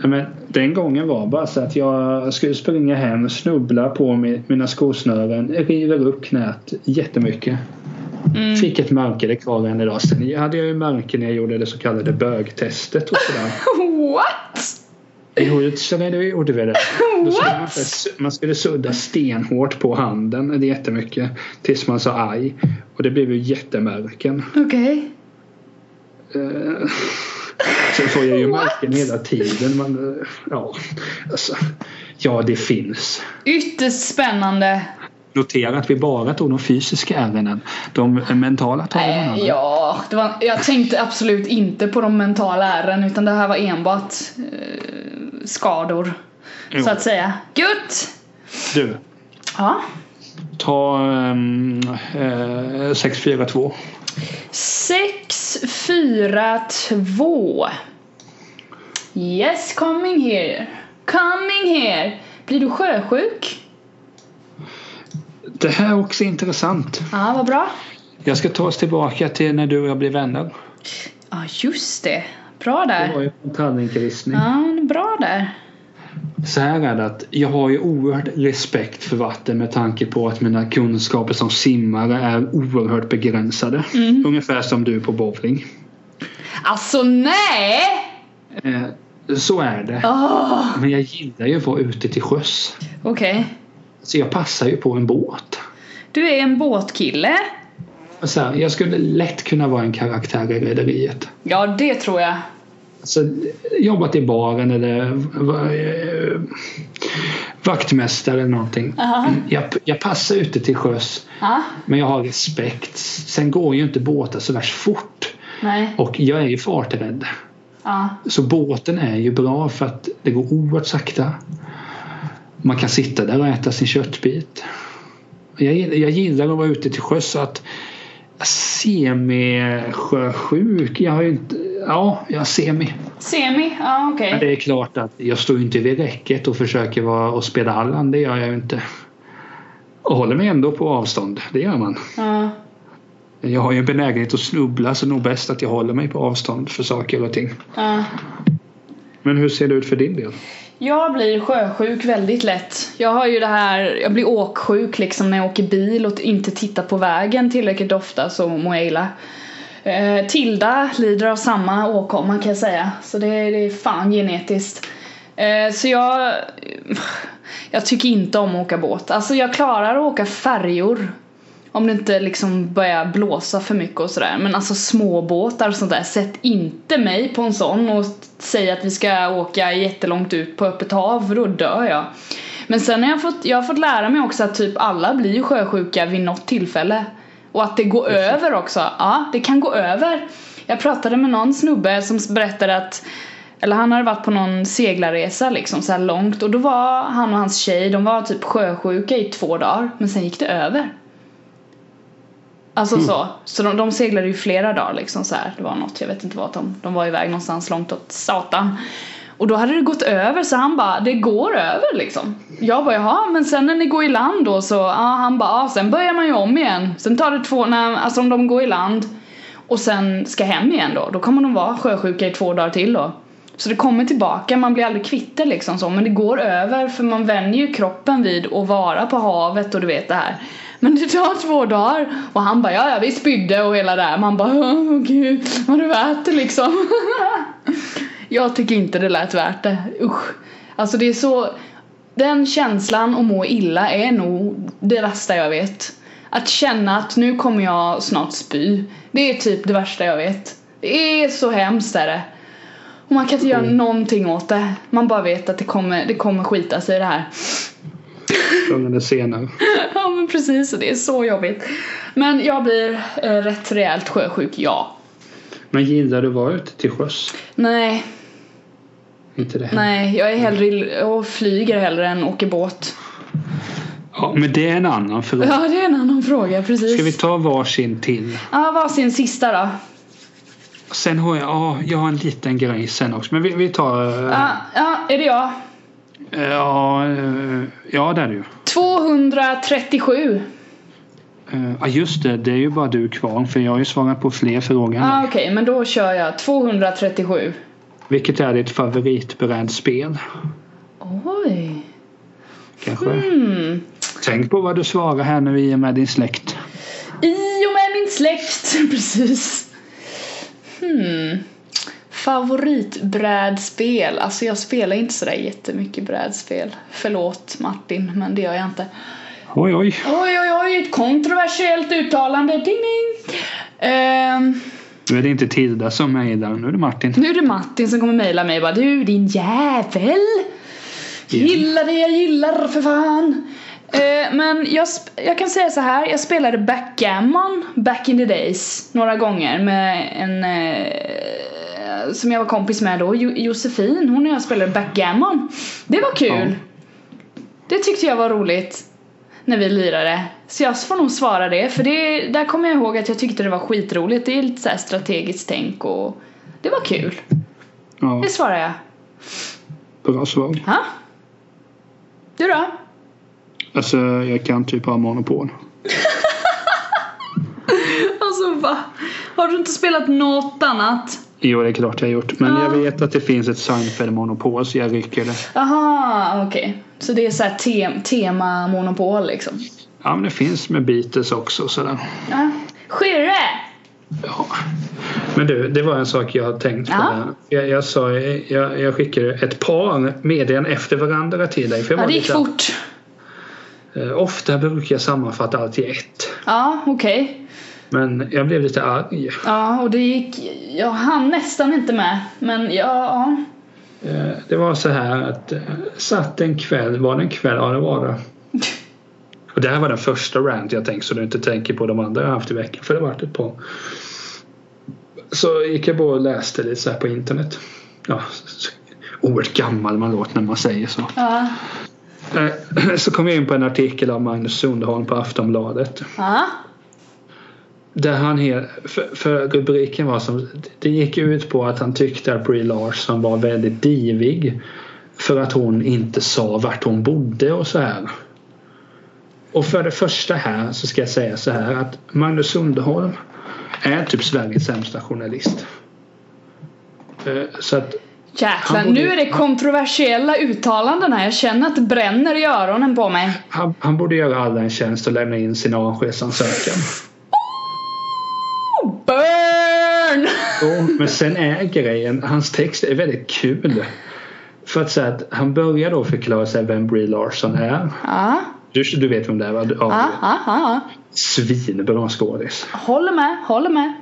Speaker 1: Ja, Men den gången var bara så att jag skulle springa hem, snubbla på mi- mina skosnören, river upp knät jättemycket.
Speaker 2: Mm.
Speaker 1: Fick ett märke, det är kvar än idag. Sen hade jag ju märke när jag gjorde det så kallade bögtestet och sådär.
Speaker 2: What?
Speaker 1: Jo, det känner du- gjorde vi det. Då skulle man,
Speaker 2: What?
Speaker 1: faktiskt- man skulle sudda stenhårt på handen det är jättemycket tills man sa aj. Och det blev ju jättemärken.
Speaker 2: Okej.
Speaker 1: Eh, Sen får jag ju märken hela tiden. Man, eh, ja, alltså, ja, det finns.
Speaker 2: Ytterst spännande.
Speaker 1: Notera att vi bara tog de fysiska ärenden. De mentala tar vi någon
Speaker 2: Äh,
Speaker 1: annan.
Speaker 2: ja, det var, jag tänkte absolut inte på de mentala ärren utan det här var enbart eh, skador.
Speaker 1: Jo.
Speaker 2: Så att säga. Gött!
Speaker 1: Du,
Speaker 2: Ja.
Speaker 1: ta um, eh, 642.
Speaker 2: 6, 4, 2. Yes, coming here. Coming here. Blir du sjösjuk?
Speaker 1: Det här är också intressant.
Speaker 2: Ja, vad bra.
Speaker 1: Jag ska ta oss tillbaka till när du och jag blev vänner.
Speaker 2: Ja, just det. Bra
Speaker 1: Det var
Speaker 2: där.
Speaker 1: ju en tallrikristning.
Speaker 2: Ja, bra där.
Speaker 1: Så här är det att jag har ju oerhört respekt för vatten med tanke på att mina kunskaper som simmare är oerhört begränsade. Ungefär som du på bowling.
Speaker 2: Alltså nej!
Speaker 1: Eh, så är det.
Speaker 2: Åh,
Speaker 1: Men jag gillar ju att vara ute till sjöss.
Speaker 2: Okej.
Speaker 1: Så jag passar ju på en båt.
Speaker 2: Du är en båtkille.
Speaker 1: Och Så här, jag skulle lätt kunna vara en karaktär i Rederiet.
Speaker 2: Ja, det tror jag.
Speaker 1: Alltså, jobbat i baren eller va- eh, vaktmästare eller någonting.
Speaker 2: Aha.
Speaker 1: Jag, jag passar ute till sjöss.
Speaker 2: Ja,
Speaker 1: Men jag har respekt. Sen går ju inte båtar så värst fort.
Speaker 2: nej.
Speaker 1: Och jag är ju farträdd.
Speaker 2: Ja.
Speaker 1: Så båten är ju bra för att det går oerhört sakta. Man kan sitta där och äta sin köttbit. Jag, gill- jag gillar att vara ute till sjöss så att semi-sjösjuk. Jag har ju inte... Ja, jag är semi.
Speaker 2: Semi? Ja, okej.
Speaker 1: Men det är klart att jag står ju inte vid räcket och försöker vara och spela Allan. Det gör jag ju inte. Och håller mig ändå på avstånd. Det gör man.
Speaker 2: Ja.
Speaker 1: Jag har ju en benägenhet att snubbla så nog bäst att jag håller mig på avstånd för saker och ting.
Speaker 2: ja.
Speaker 1: Men hur ser det ut för din del?
Speaker 2: Jag blir sjösjuk väldigt lätt. Jag har ju det här, jag blir åksjuk liksom när jag åker bil och inte tittar på vägen tillräckligt ofta så mår jag illa. Eh, Tilda lider av samma åkomma kan jag säga. Så det, det är fan genetiskt. Eh, så jag... Jag tycker inte om att åka båt. Alltså jag klarar att åka färjor. Om det inte liksom börjar blåsa för mycket och sådär. Men alltså småbåtar och sånt där. Sätt inte mig på en sån och säg att vi ska åka jättelångt ut på öppet hav för då dör jag. Men sen har jag fått, jag har fått lära mig också att typ alla blir ju sjösjuka vid något tillfälle. Och att det går över också. Ja, det kan gå över. Jag pratade med någon snubbe som berättade att eller han hade varit på någon seglarresa liksom så här långt och då var han och hans tjej, de var typ sjösjuka i två dagar men sen gick det över. Alltså så. Så de, de seglade ju flera dagar liksom så här. Det var något, jag vet inte vart de, de var iväg någonstans långt åt satan. Och då hade det gått över så han bara, det går över liksom. Jag bara, jaha men sen när ni går i land då så, ja han bara, ja sen börjar man ju om igen. Sen tar det två, när, alltså om de går i land och sen ska hem igen då, då kommer de vara sjösjuka i två dagar till då. Så det kommer tillbaka, man blir aldrig kvitt det liksom så men det går över för man vänjer ju kroppen vid att vara på havet och du vet det här. Men det tar två dagar och han bara ja ja vi spydde och hela det här. Man bara åh gud var det värt det liksom? Jag tycker inte det lät värt det, usch. Alltså det är så, den känslan och må illa är nog det värsta jag vet. Att känna att nu kommer jag snart spy. Det är typ det värsta jag vet. Det är så hemskt är det. Och man kan inte
Speaker 1: Mm.
Speaker 2: göra någonting åt det. Man bara vet att det kommer, det kommer skita sig det här.
Speaker 1: Förr eller senare.
Speaker 2: ja men precis, och det är så jobbigt. Men jag blir eh, rätt rejält sjösjuk, ja.
Speaker 1: Men gillar du att vara ute till sjöss?
Speaker 2: Nej,
Speaker 1: Inte det heller.
Speaker 2: nej, jag är hellre och flyger hellre än åker båt.
Speaker 1: Ja, men det är en annan fråga.
Speaker 2: Ja, det är en annan fråga, precis.
Speaker 1: Mm. Ska vi ta varsin till?
Speaker 2: Ja, varsin sista då.
Speaker 1: Sen har jag, ja, jag har en liten grej sen också. Men vi, vi tar... eh,
Speaker 2: Ja, ja, är det jag?
Speaker 1: Ja, eh, ja där är du.
Speaker 2: 237.
Speaker 1: Eh, Ja, just det. Det är ju bara du kvar. För jag har ju svarat på fler frågor. än
Speaker 2: Ah,
Speaker 1: dig.
Speaker 2: Okej, men då kör jag 237.
Speaker 1: Vilket är ditt favoritbrädspel?
Speaker 2: Oj.
Speaker 1: Kanske.
Speaker 2: Mm.
Speaker 1: Tänk på vad du svarar här nu i och med din släkt.
Speaker 2: I och med min släkt, precis. Hmm. Favoritbrädspel. Alltså jag spelar inte sådär jättemycket brädspel. Förlåt Martin, men det gör jag inte.
Speaker 1: Oj, oj.
Speaker 2: Oj, oj, oj, ett kontroversiellt uttalande. Ding, ding. Ehm,
Speaker 1: Nu är det inte Tilda som mejlar. Nu är det Martin.
Speaker 2: nu är det Martin som kommer mejla mig och bara du din jävel.
Speaker 1: Igen.
Speaker 2: Gillar det jag gillar för fan. Eh, men jag, sp- jag kan säga så här, jag spelade backgammon back in the days några gånger med en eh, som jag var kompis med då, jo- Josefin. Hon och jag spelade backgammon. Det var kul. Det tyckte jag var roligt när vi lirade. Så jag får nog svara det, för det, där kommer jag ihåg att jag tyckte det var skitroligt. Det är lite så här strategiskt tänk och det var kul.
Speaker 1: Ja,
Speaker 2: Det svarar jag.
Speaker 1: bra svar.
Speaker 2: Ha? Du då?
Speaker 1: Alltså, jag kan typ ha monopol.
Speaker 2: Alltså va? Har du inte spelat något annat?
Speaker 1: Jo, det är klart jag har gjort. Men
Speaker 2: Ja.
Speaker 1: jag vet att det finns ett Seinfeld-monopol så jag rycker det.
Speaker 2: Aha, okej. Så det är så här te- tema monopol liksom.
Speaker 1: Ja, men det finns med Beatles också och sådär.
Speaker 2: Ja. Skirre!
Speaker 1: Ja. Men du, det var en sak jag har tänkt på.
Speaker 2: Ja.
Speaker 1: där. Jag, jag, sa, jag, jag skickade ett par meddelanden efter varandra till dig. För jag
Speaker 2: Ja,
Speaker 1: var
Speaker 2: det gick
Speaker 1: lite-
Speaker 2: fort.
Speaker 1: eh, Ofta brukar jag sammanfatta allt i ett.
Speaker 2: Ja, okej.
Speaker 1: Men jag blev lite arg.
Speaker 2: Ja, och det gick... Jag hann nästan inte med. Men ja, ja.
Speaker 1: Eh, Det var så här att eh, satt en kväll, var det en kväll? Ja, det var det. Och det här var den första rant jag tänkte så du inte tänker på de andra jag haft i veckan för det vart ett par. Så gick jag på och läste lite så här på internet. Ja, så- oerhört gammal man låter när man säger så.
Speaker 2: Ja.
Speaker 1: Eh, Så kom jag in på en artikel av Magnus Sundholm på Aftonbladet.
Speaker 2: ja.
Speaker 1: Där han helt, för, för rubriken var som, det gick ut på att han tyckte att Brie Larson var väldigt divig. För att hon inte sa vart hon bodde och så här. Och för det första här så ska jag säga så här att Magnus Sundholm är typ Sveriges sämsta journalist. Eh, Så att
Speaker 2: Jäklar,
Speaker 1: Han borde-
Speaker 2: nu är det kontroversiella uttalanden här. Jag känner att det bränner i öronen på mig.
Speaker 1: han, han borde göra alla en tjänst och lämna in sin avskedsansökan.
Speaker 2: Oh, burn!
Speaker 1: Jo, men sen är grejen, hans text är väldigt kul. För att säga att han börjar då förklara sig vem Brie Larson är.
Speaker 2: Ja,
Speaker 1: Du, du vet vem det är va? Du-
Speaker 2: ja,
Speaker 1: Ja,
Speaker 2: ja, ja.
Speaker 1: svinbra skådis.
Speaker 2: Håller med, håller med,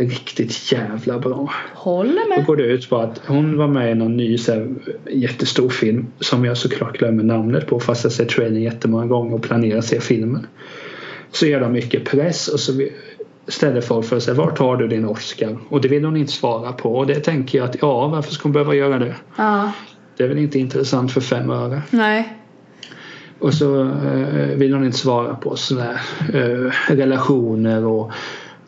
Speaker 1: Riktigt jävla bra.
Speaker 2: håller
Speaker 1: Då
Speaker 2: med.
Speaker 1: går det ut på att hon var med i någon ny så här, jättestor film som jag såklart glömmer namnet på fast jag ser trailern jättemånga gånger och planerar att se filmen. Så gör de mycket press och så vi- ställer folk för sig vart tar du din Oscar? Och det vill hon inte svara på och det tänker jag att ja, varför ska hon behöva göra det?
Speaker 2: Ja,
Speaker 1: Det är väl inte intressant för fem öre.
Speaker 2: nej.
Speaker 1: Och så eh, vill hon inte svara på sådana eh, relationer och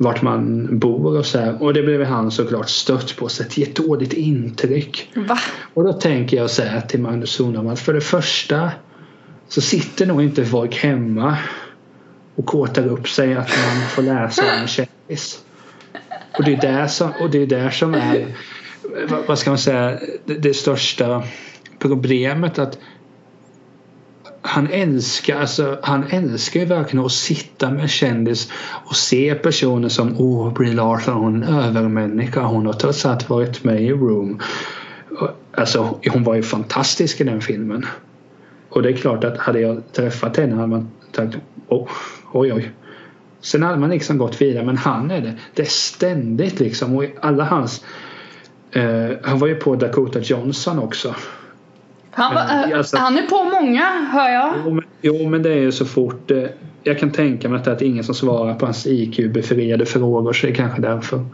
Speaker 1: vart man bor och så här. Och det blev han såklart stött på så ett jättedåligt intryck.
Speaker 2: Va?
Speaker 1: Och då tänker jag säga till Magnus Sundholm att för det första så sitter nog inte folk hemma och kåtar upp sig att man får läsa om en kändis. Och det är där som, och det är där som är vad- vad ska man säga, det, det största problemet att han älskar, alltså, han älskar ju verkligen att sitta med kändis och se personer som Åh, Brie Larson hon är en övermänniska. Hon har trots allt varit med i Room. Och, Alltså hon var ju fantastisk i den filmen. Och det är klart att hade jag träffat henne hade man tänkt oh, oj oj. Sen hade man liksom gått vidare men han är det. Det är ständigt liksom och i alla hans eh, han var ju på Dakota Johnson också.
Speaker 2: Han, var, eh,
Speaker 1: Men, alltså-
Speaker 2: han är på många, hör jag.
Speaker 1: Jo men, jo, men det är ju så fort eh, jag kan tänka mig att det är ingen som svarar på hans IQ-befriade frågor så det är kanske därför.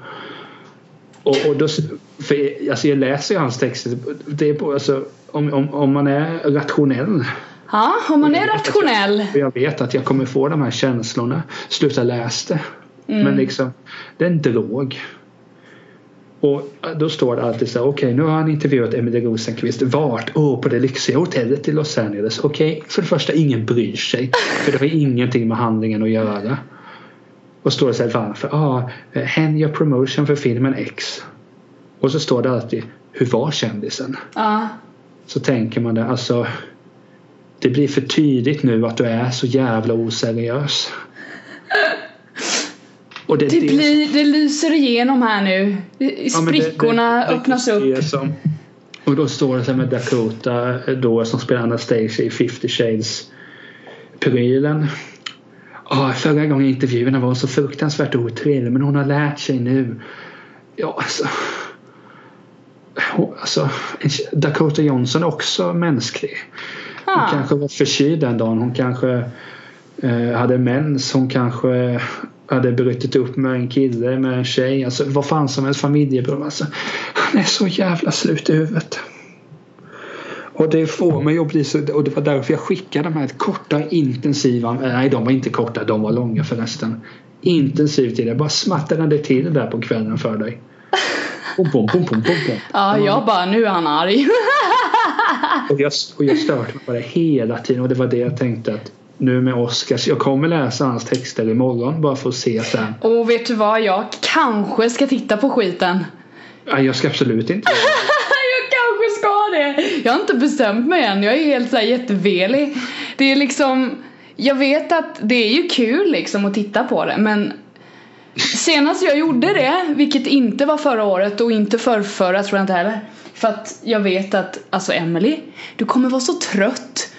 Speaker 1: Och, och då, s- för, alltså jag läser ju hans texter. Det är på, alltså, om, om, om man är rationell
Speaker 2: Ja, om man är rationell.
Speaker 1: För jag vet att jag kommer få de här känslorna. Sluta läs det. Men liksom, det är en drog. Och då står det alltid så här, okej nu har han intervjuat Emily Rosenqvist. Vart? Åh, på det lyxiga hotellet i Los Angeles. Okej, för det första ingen bryr sig. För det har ingenting med handlingen att göra. Och står det så här, varför? Ja, ah, hen gör promotion för filmen X. Och så står det alltid, hur var kändisen?
Speaker 2: Ja.
Speaker 1: så tänker man det. Alltså, det blir för tydligt nu att du är så jävla oseriös. Och
Speaker 2: Det,
Speaker 1: som-
Speaker 2: blir, det lyser igenom här nu. I- i
Speaker 1: ja, men det-
Speaker 2: Sprickorna
Speaker 1: det- det är
Speaker 2: öppnas
Speaker 1: just
Speaker 2: upp.
Speaker 1: det som- och då står det så här med Dakota eh, då som spelar Anastasia i 50 shades prylen. Oh, förra gången i intervjuerna var hon så fruktansvärt otrevlig men hon har lärt sig nu. Ja alltså. Hon- alltså Dakota Johnson är också mänsklig. Hon
Speaker 2: Ja.
Speaker 1: kanske var förkyld den dagen. Hon kanske eh, hade mens. Hon kanske hade brutit upp med en kille, med en tjej. Alltså vad fan som helst familjeproblem. Alltså, han är så jävla slut i huvudet. Och det får mig att bli så, och det var därför jag skickade de här korta intensiva, nej de var inte korta, de var långa förresten. Intensivt i det, bara smattrade till där på kvällen för dig. Och bom, bom, bom, bom, bom.
Speaker 2: Ja, jag bara, nu är han arg.
Speaker 1: Och jag, och jag störde mig på det hela tiden och det var det jag tänkte att nu med Oscars, jag kommer läsa hans texter imorgon bara för att se sen.
Speaker 2: Och vet du vad, jag kanske ska titta på skiten.
Speaker 1: Nej, jag ska absolut inte göra det.
Speaker 2: Jag kanske ska det. Jag har inte bestämt mig än. Jag är helt såhär jättevelig. Det är liksom, jag vet att det är ju kul liksom att titta på det men Senast jag gjorde det, vilket inte var förra året och inte förrförra tror jag inte heller. För att jag vet att, alltså Emily, du kommer vara så trött.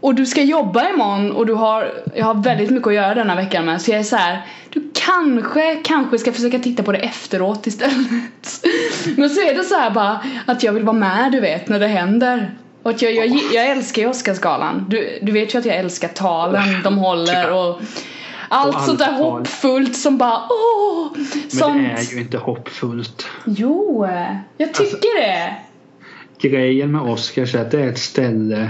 Speaker 2: Och du ska jobba imorgon och du har, jag har väldigt mycket att göra denna veckan med. Så jag är så här, du kanske, kanske ska försöka titta på det efteråt istället. Men så är det så här bara att jag vill vara med du vet när det händer. Och att jag, jag, jag älskar ju Oscarsgalan. Du, du vet ju att jag älskar talen de håller och allt
Speaker 1: Och
Speaker 2: sånt där
Speaker 1: allt tal.
Speaker 2: hoppfullt som bara åh!
Speaker 1: Men det
Speaker 2: sånt.
Speaker 1: är ju Alltså, inte hoppfullt.
Speaker 2: Jo, jag tycker det.
Speaker 1: Grejen med Oscars är att det är ett ställe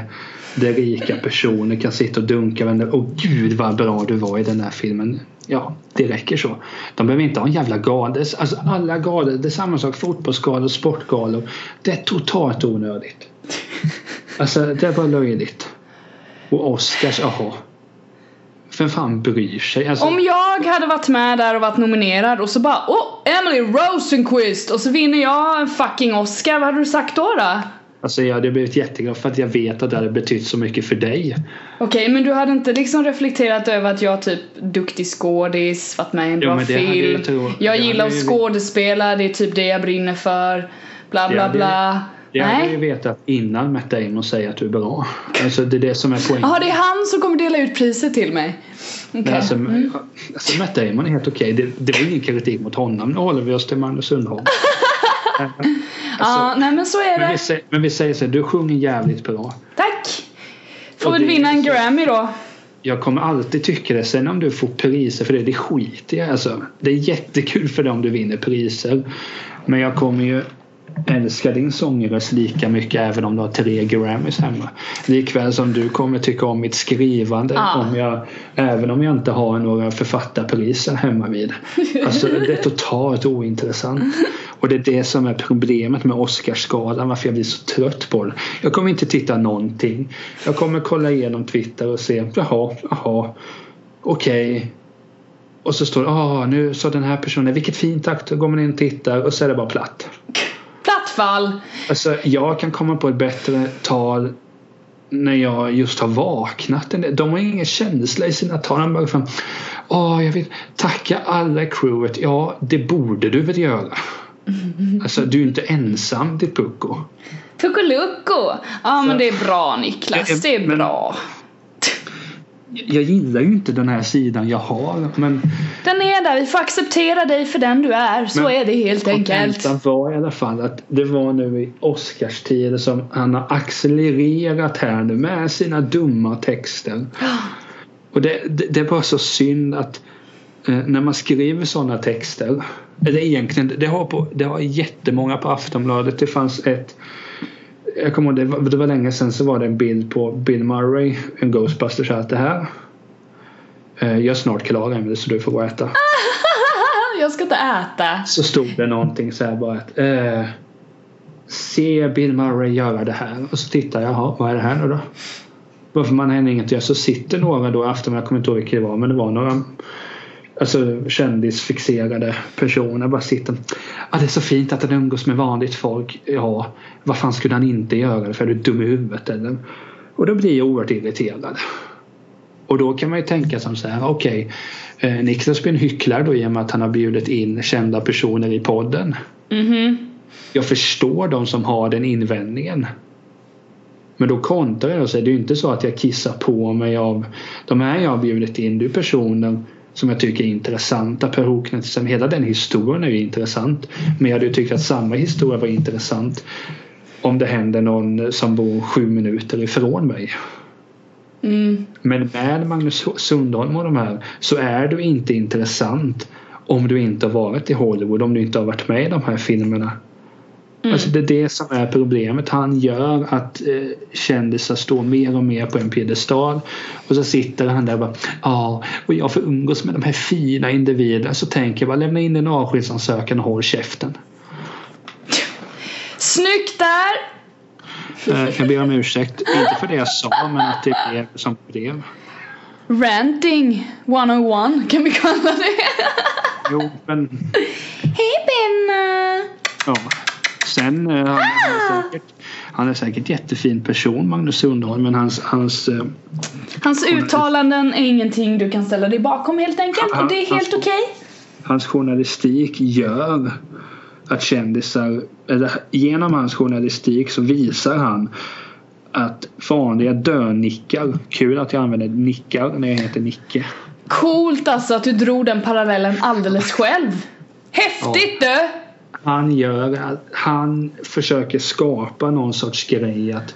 Speaker 1: där rika personer kan sitta och dunka varandra. Åh gud vad bra du var i den här filmen. Ja, det räcker så. De behöver inte ha en jävla gala. Alltså alla galor, det är samma sak. Fotbollsgalor, sportgalor. Det är totalt onödigt. Alltså det är bara löjligt. Och Oscars, jaha. Vem fan bryr sig? Alltså,
Speaker 2: Om jag hade varit med där och varit nominerad och så bara åh, Emily Rosenquist och så vinner jag en fucking Oscar, vad hade du sagt då? då?
Speaker 1: alltså jag hade blivit jätteglad för att jag vet att det hade betytt så mycket för dig.
Speaker 2: Okej, men du hade inte liksom reflekterat över att jag typ duktig skådis, varit med i
Speaker 1: Jo,
Speaker 2: en bra
Speaker 1: men det hade
Speaker 2: film.
Speaker 1: jag tror-
Speaker 2: jag
Speaker 1: det
Speaker 2: gillar
Speaker 1: hade
Speaker 2: att
Speaker 1: ju-
Speaker 2: skådespela, det är typ det jag brinner för. Bla
Speaker 1: Det
Speaker 2: bla
Speaker 1: hade-
Speaker 2: bla.
Speaker 1: Det hade ju
Speaker 2: Nej.
Speaker 1: vetat innan Matt Damon säger att du är bra. Alltså det är det som är poängen.
Speaker 2: Jaha, det är han som kommer dela ut priset till mig. Okej. Mm.
Speaker 1: alltså, alltså Matt Damon är helt okej. Det, det var ingen kritik mot honom. Nu håller vi oss till Magnus Sundholm.
Speaker 2: ja, nej men så är det.
Speaker 1: Alltså- Men vi, sä- men vi säger så här, du sjunger jävligt bra.
Speaker 2: Tack! Får
Speaker 1: Och
Speaker 2: väl
Speaker 1: det-
Speaker 2: vinna en Grammy då.
Speaker 1: Jag kommer alltid tycka det. Sen om du får priser för det, det skiter jag i, alltså. Det är jättekul för dig om du vinner priser. Men jag kommer ju älska din sångröst lika mycket även om du har tre Grammys hemma. Likväl som du kommer tycka om mitt skrivande
Speaker 2: Ja.
Speaker 1: om jag, även om jag inte har några författarpriser hemma vid. Alltså det är totalt ointressant. Och det är det som är problemet med Oscarsgalan, varför jag blir så trött på den. Jag kommer inte titta någonting. Jag kommer kolla igenom Twitter och se, jaha, jaha, okej. Och så står det, ah nu sa den här personen, vilket fint tack, då går man in och tittar och så är det bara platt.
Speaker 2: Platt fall.
Speaker 1: Alltså, jag kan komma på ett bättre tal när jag just har vaknat. De har ingen känsla i sina tal. De bara fram. Åh, jag vill tacka alla i crewet. Ja, det borde du väl göra. Alltså, du är ju inte ensam ditt pucko.
Speaker 2: Tuckelucko! Ja men det är bra Niklas, det är
Speaker 1: Men-
Speaker 2: bra.
Speaker 1: Jag gillar ju inte den här sidan jag har, men
Speaker 2: Den är där, vi får acceptera dig för den du är. Så
Speaker 1: Men-
Speaker 2: är det helt enkelt.
Speaker 1: kontentan var i alla fall att det var nu i Oscarstider som han har accelererat här nu med sina dumma texter. Och det, det, det är bara så synd att eh, när man skriver sådana texter, eller egentligen, det har, på, det har jättemånga på Aftonbladet, det fanns ett jag kommer ihåg, det var, det var länge sedan så var det en bild på Bill Murray, en Ghostbusters, och allt det här. Eh, Jag är snart klar Emelie så du får gå och äta
Speaker 2: Jag ska inte äta.
Speaker 1: så stod det någonting så här bara att eh, Se Bill Murray göra det här och så tittar jag, jaha vad är det här nu då? Varför man händer inget att göra så sitter några då i afton, jag kommer inte ihåg vilka det var men det var några Alltså kändisfixerade personer bara sitter ah, Det är så fint att han umgås med vanligt folk Ja, vad fan skulle han inte göra det för? Är du dum i huvudet eller? Och då blir jag oerhört irriterad och då kan man ju tänka som så här, okej eh, Niklas blir en hycklare då i och med att han har bjudit in kända personer i podden.
Speaker 2: Mhm.
Speaker 1: Jag förstår de som har den invändningen. Men då kontrar jag och säger, det är ju inte så att jag kissar på mig av de här jag har bjudit in, du personen som jag tycker är intressanta. Per Håknässon, hela den historien är ju intressant. Men jag hade ju tyckt att samma historia var intressant om det händer någon som bor sju minuter ifrån mig.
Speaker 2: Mm.
Speaker 1: Men med Magnus Sundholm och de här så är du inte intressant om du inte har varit i Hollywood, om du inte har varit med i de här filmerna. Alltså det är det som är problemet. Han gör att eh, kändisar står mer och mer på en piedestal och så sitter han där och bara ja, och jag får umgås med de här fina individerna så tänker jag bara lämna in en avskedsansökan och håll käften.
Speaker 2: Snyggt där!
Speaker 1: Eh, jag ber om ursäkt, inte för det jag sa men att det blev som det blev.
Speaker 2: Ranting 101 kan vi kalla det.
Speaker 1: Jo, men
Speaker 2: Hej Benna!
Speaker 1: Ja. Sen, eh, han, han, är säkert, han är säkert jättefin person, Magnus Sundholm, men hans, hans eh,
Speaker 2: Hans uttalanden är ingenting du kan ställa dig bakom helt enkelt och det är
Speaker 1: Han-
Speaker 2: helt okej.
Speaker 1: hans journalistik gör att kändisar, eller genom hans journalistik så visar han att vanliga dönickar, kul att jag använder nickar när jag heter Nicke.
Speaker 2: Coolt alltså att du drog den parallellen alldeles själv. Häftigt du!
Speaker 1: Han gör, att- han försöker skapa någon sorts grej att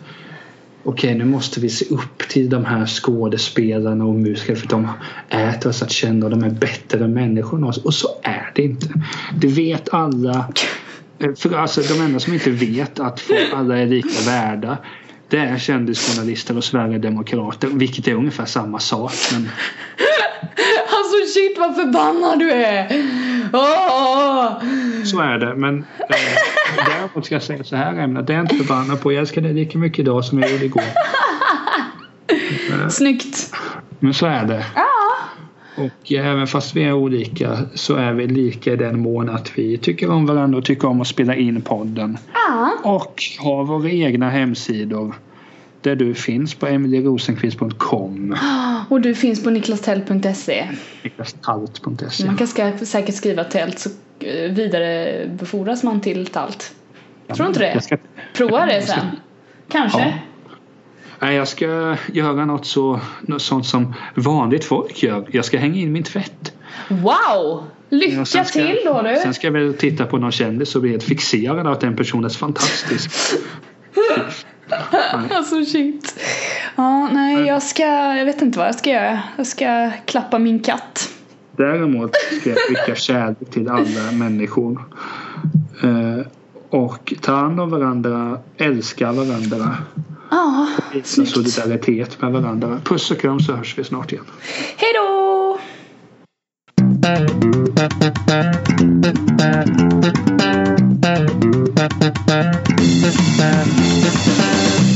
Speaker 1: okej nu måste vi se upp till de här skådespelarna och musikerna för de är trots allt kända och de är bättre människor än oss. Och så är det inte. Det vet alla. Eh, För alltså de enda som inte vet att folk- alla är lika värda det är kändisjournalister och Sverigedemokrater vilket är ungefär samma sak. Men
Speaker 2: Alltså shit vad förbannad du är! Åh!
Speaker 1: Så är det. Men eh, däremot ska jag säga så här Emma. Det är jag inte förbannad på. Jag älskar dig lika mycket idag som jag gjorde igår.
Speaker 2: Snyggt!
Speaker 1: Men så är det.
Speaker 2: Ja,
Speaker 1: Och eh, även fast vi är olika så är vi lika i den mån att vi tycker om varandra och tycker om att spela in podden.
Speaker 2: ja.
Speaker 1: Och har våra egna hemsidor. Där du finns på emilierosenqvist.com.
Speaker 2: Och du finns på niklastell.se.
Speaker 1: Niklastalt.se.
Speaker 2: Man kan ska, säkert skriva tält så eh, vidarebefordras man till talt. Tror du inte det?
Speaker 1: Jag ska,
Speaker 2: Prova det sen. Kanske.
Speaker 1: nej, jag ska göra något, så, något sånt som vanligt folk gör. Jag ska hänga in min tvätt.
Speaker 2: Wow! Lycka
Speaker 1: Och sen ska-
Speaker 2: till då du!
Speaker 1: Sen ska jag väl titta på någon kändis och bli helt fixerad av att den personen är så fantastisk.
Speaker 2: Alltså shit. Ja, nej jag ska, jag vet inte vad jag ska göra. Jag ska klappa min katt.
Speaker 1: Däremot ska jag skicka kärlek till alla människor. Eh, och ta hand om varandra, älska varandra,
Speaker 2: Ja,
Speaker 1: visa
Speaker 2: snyggt.
Speaker 1: solidaritet med varandra. Puss och kram så hörs vi snart igen.
Speaker 2: Hej då!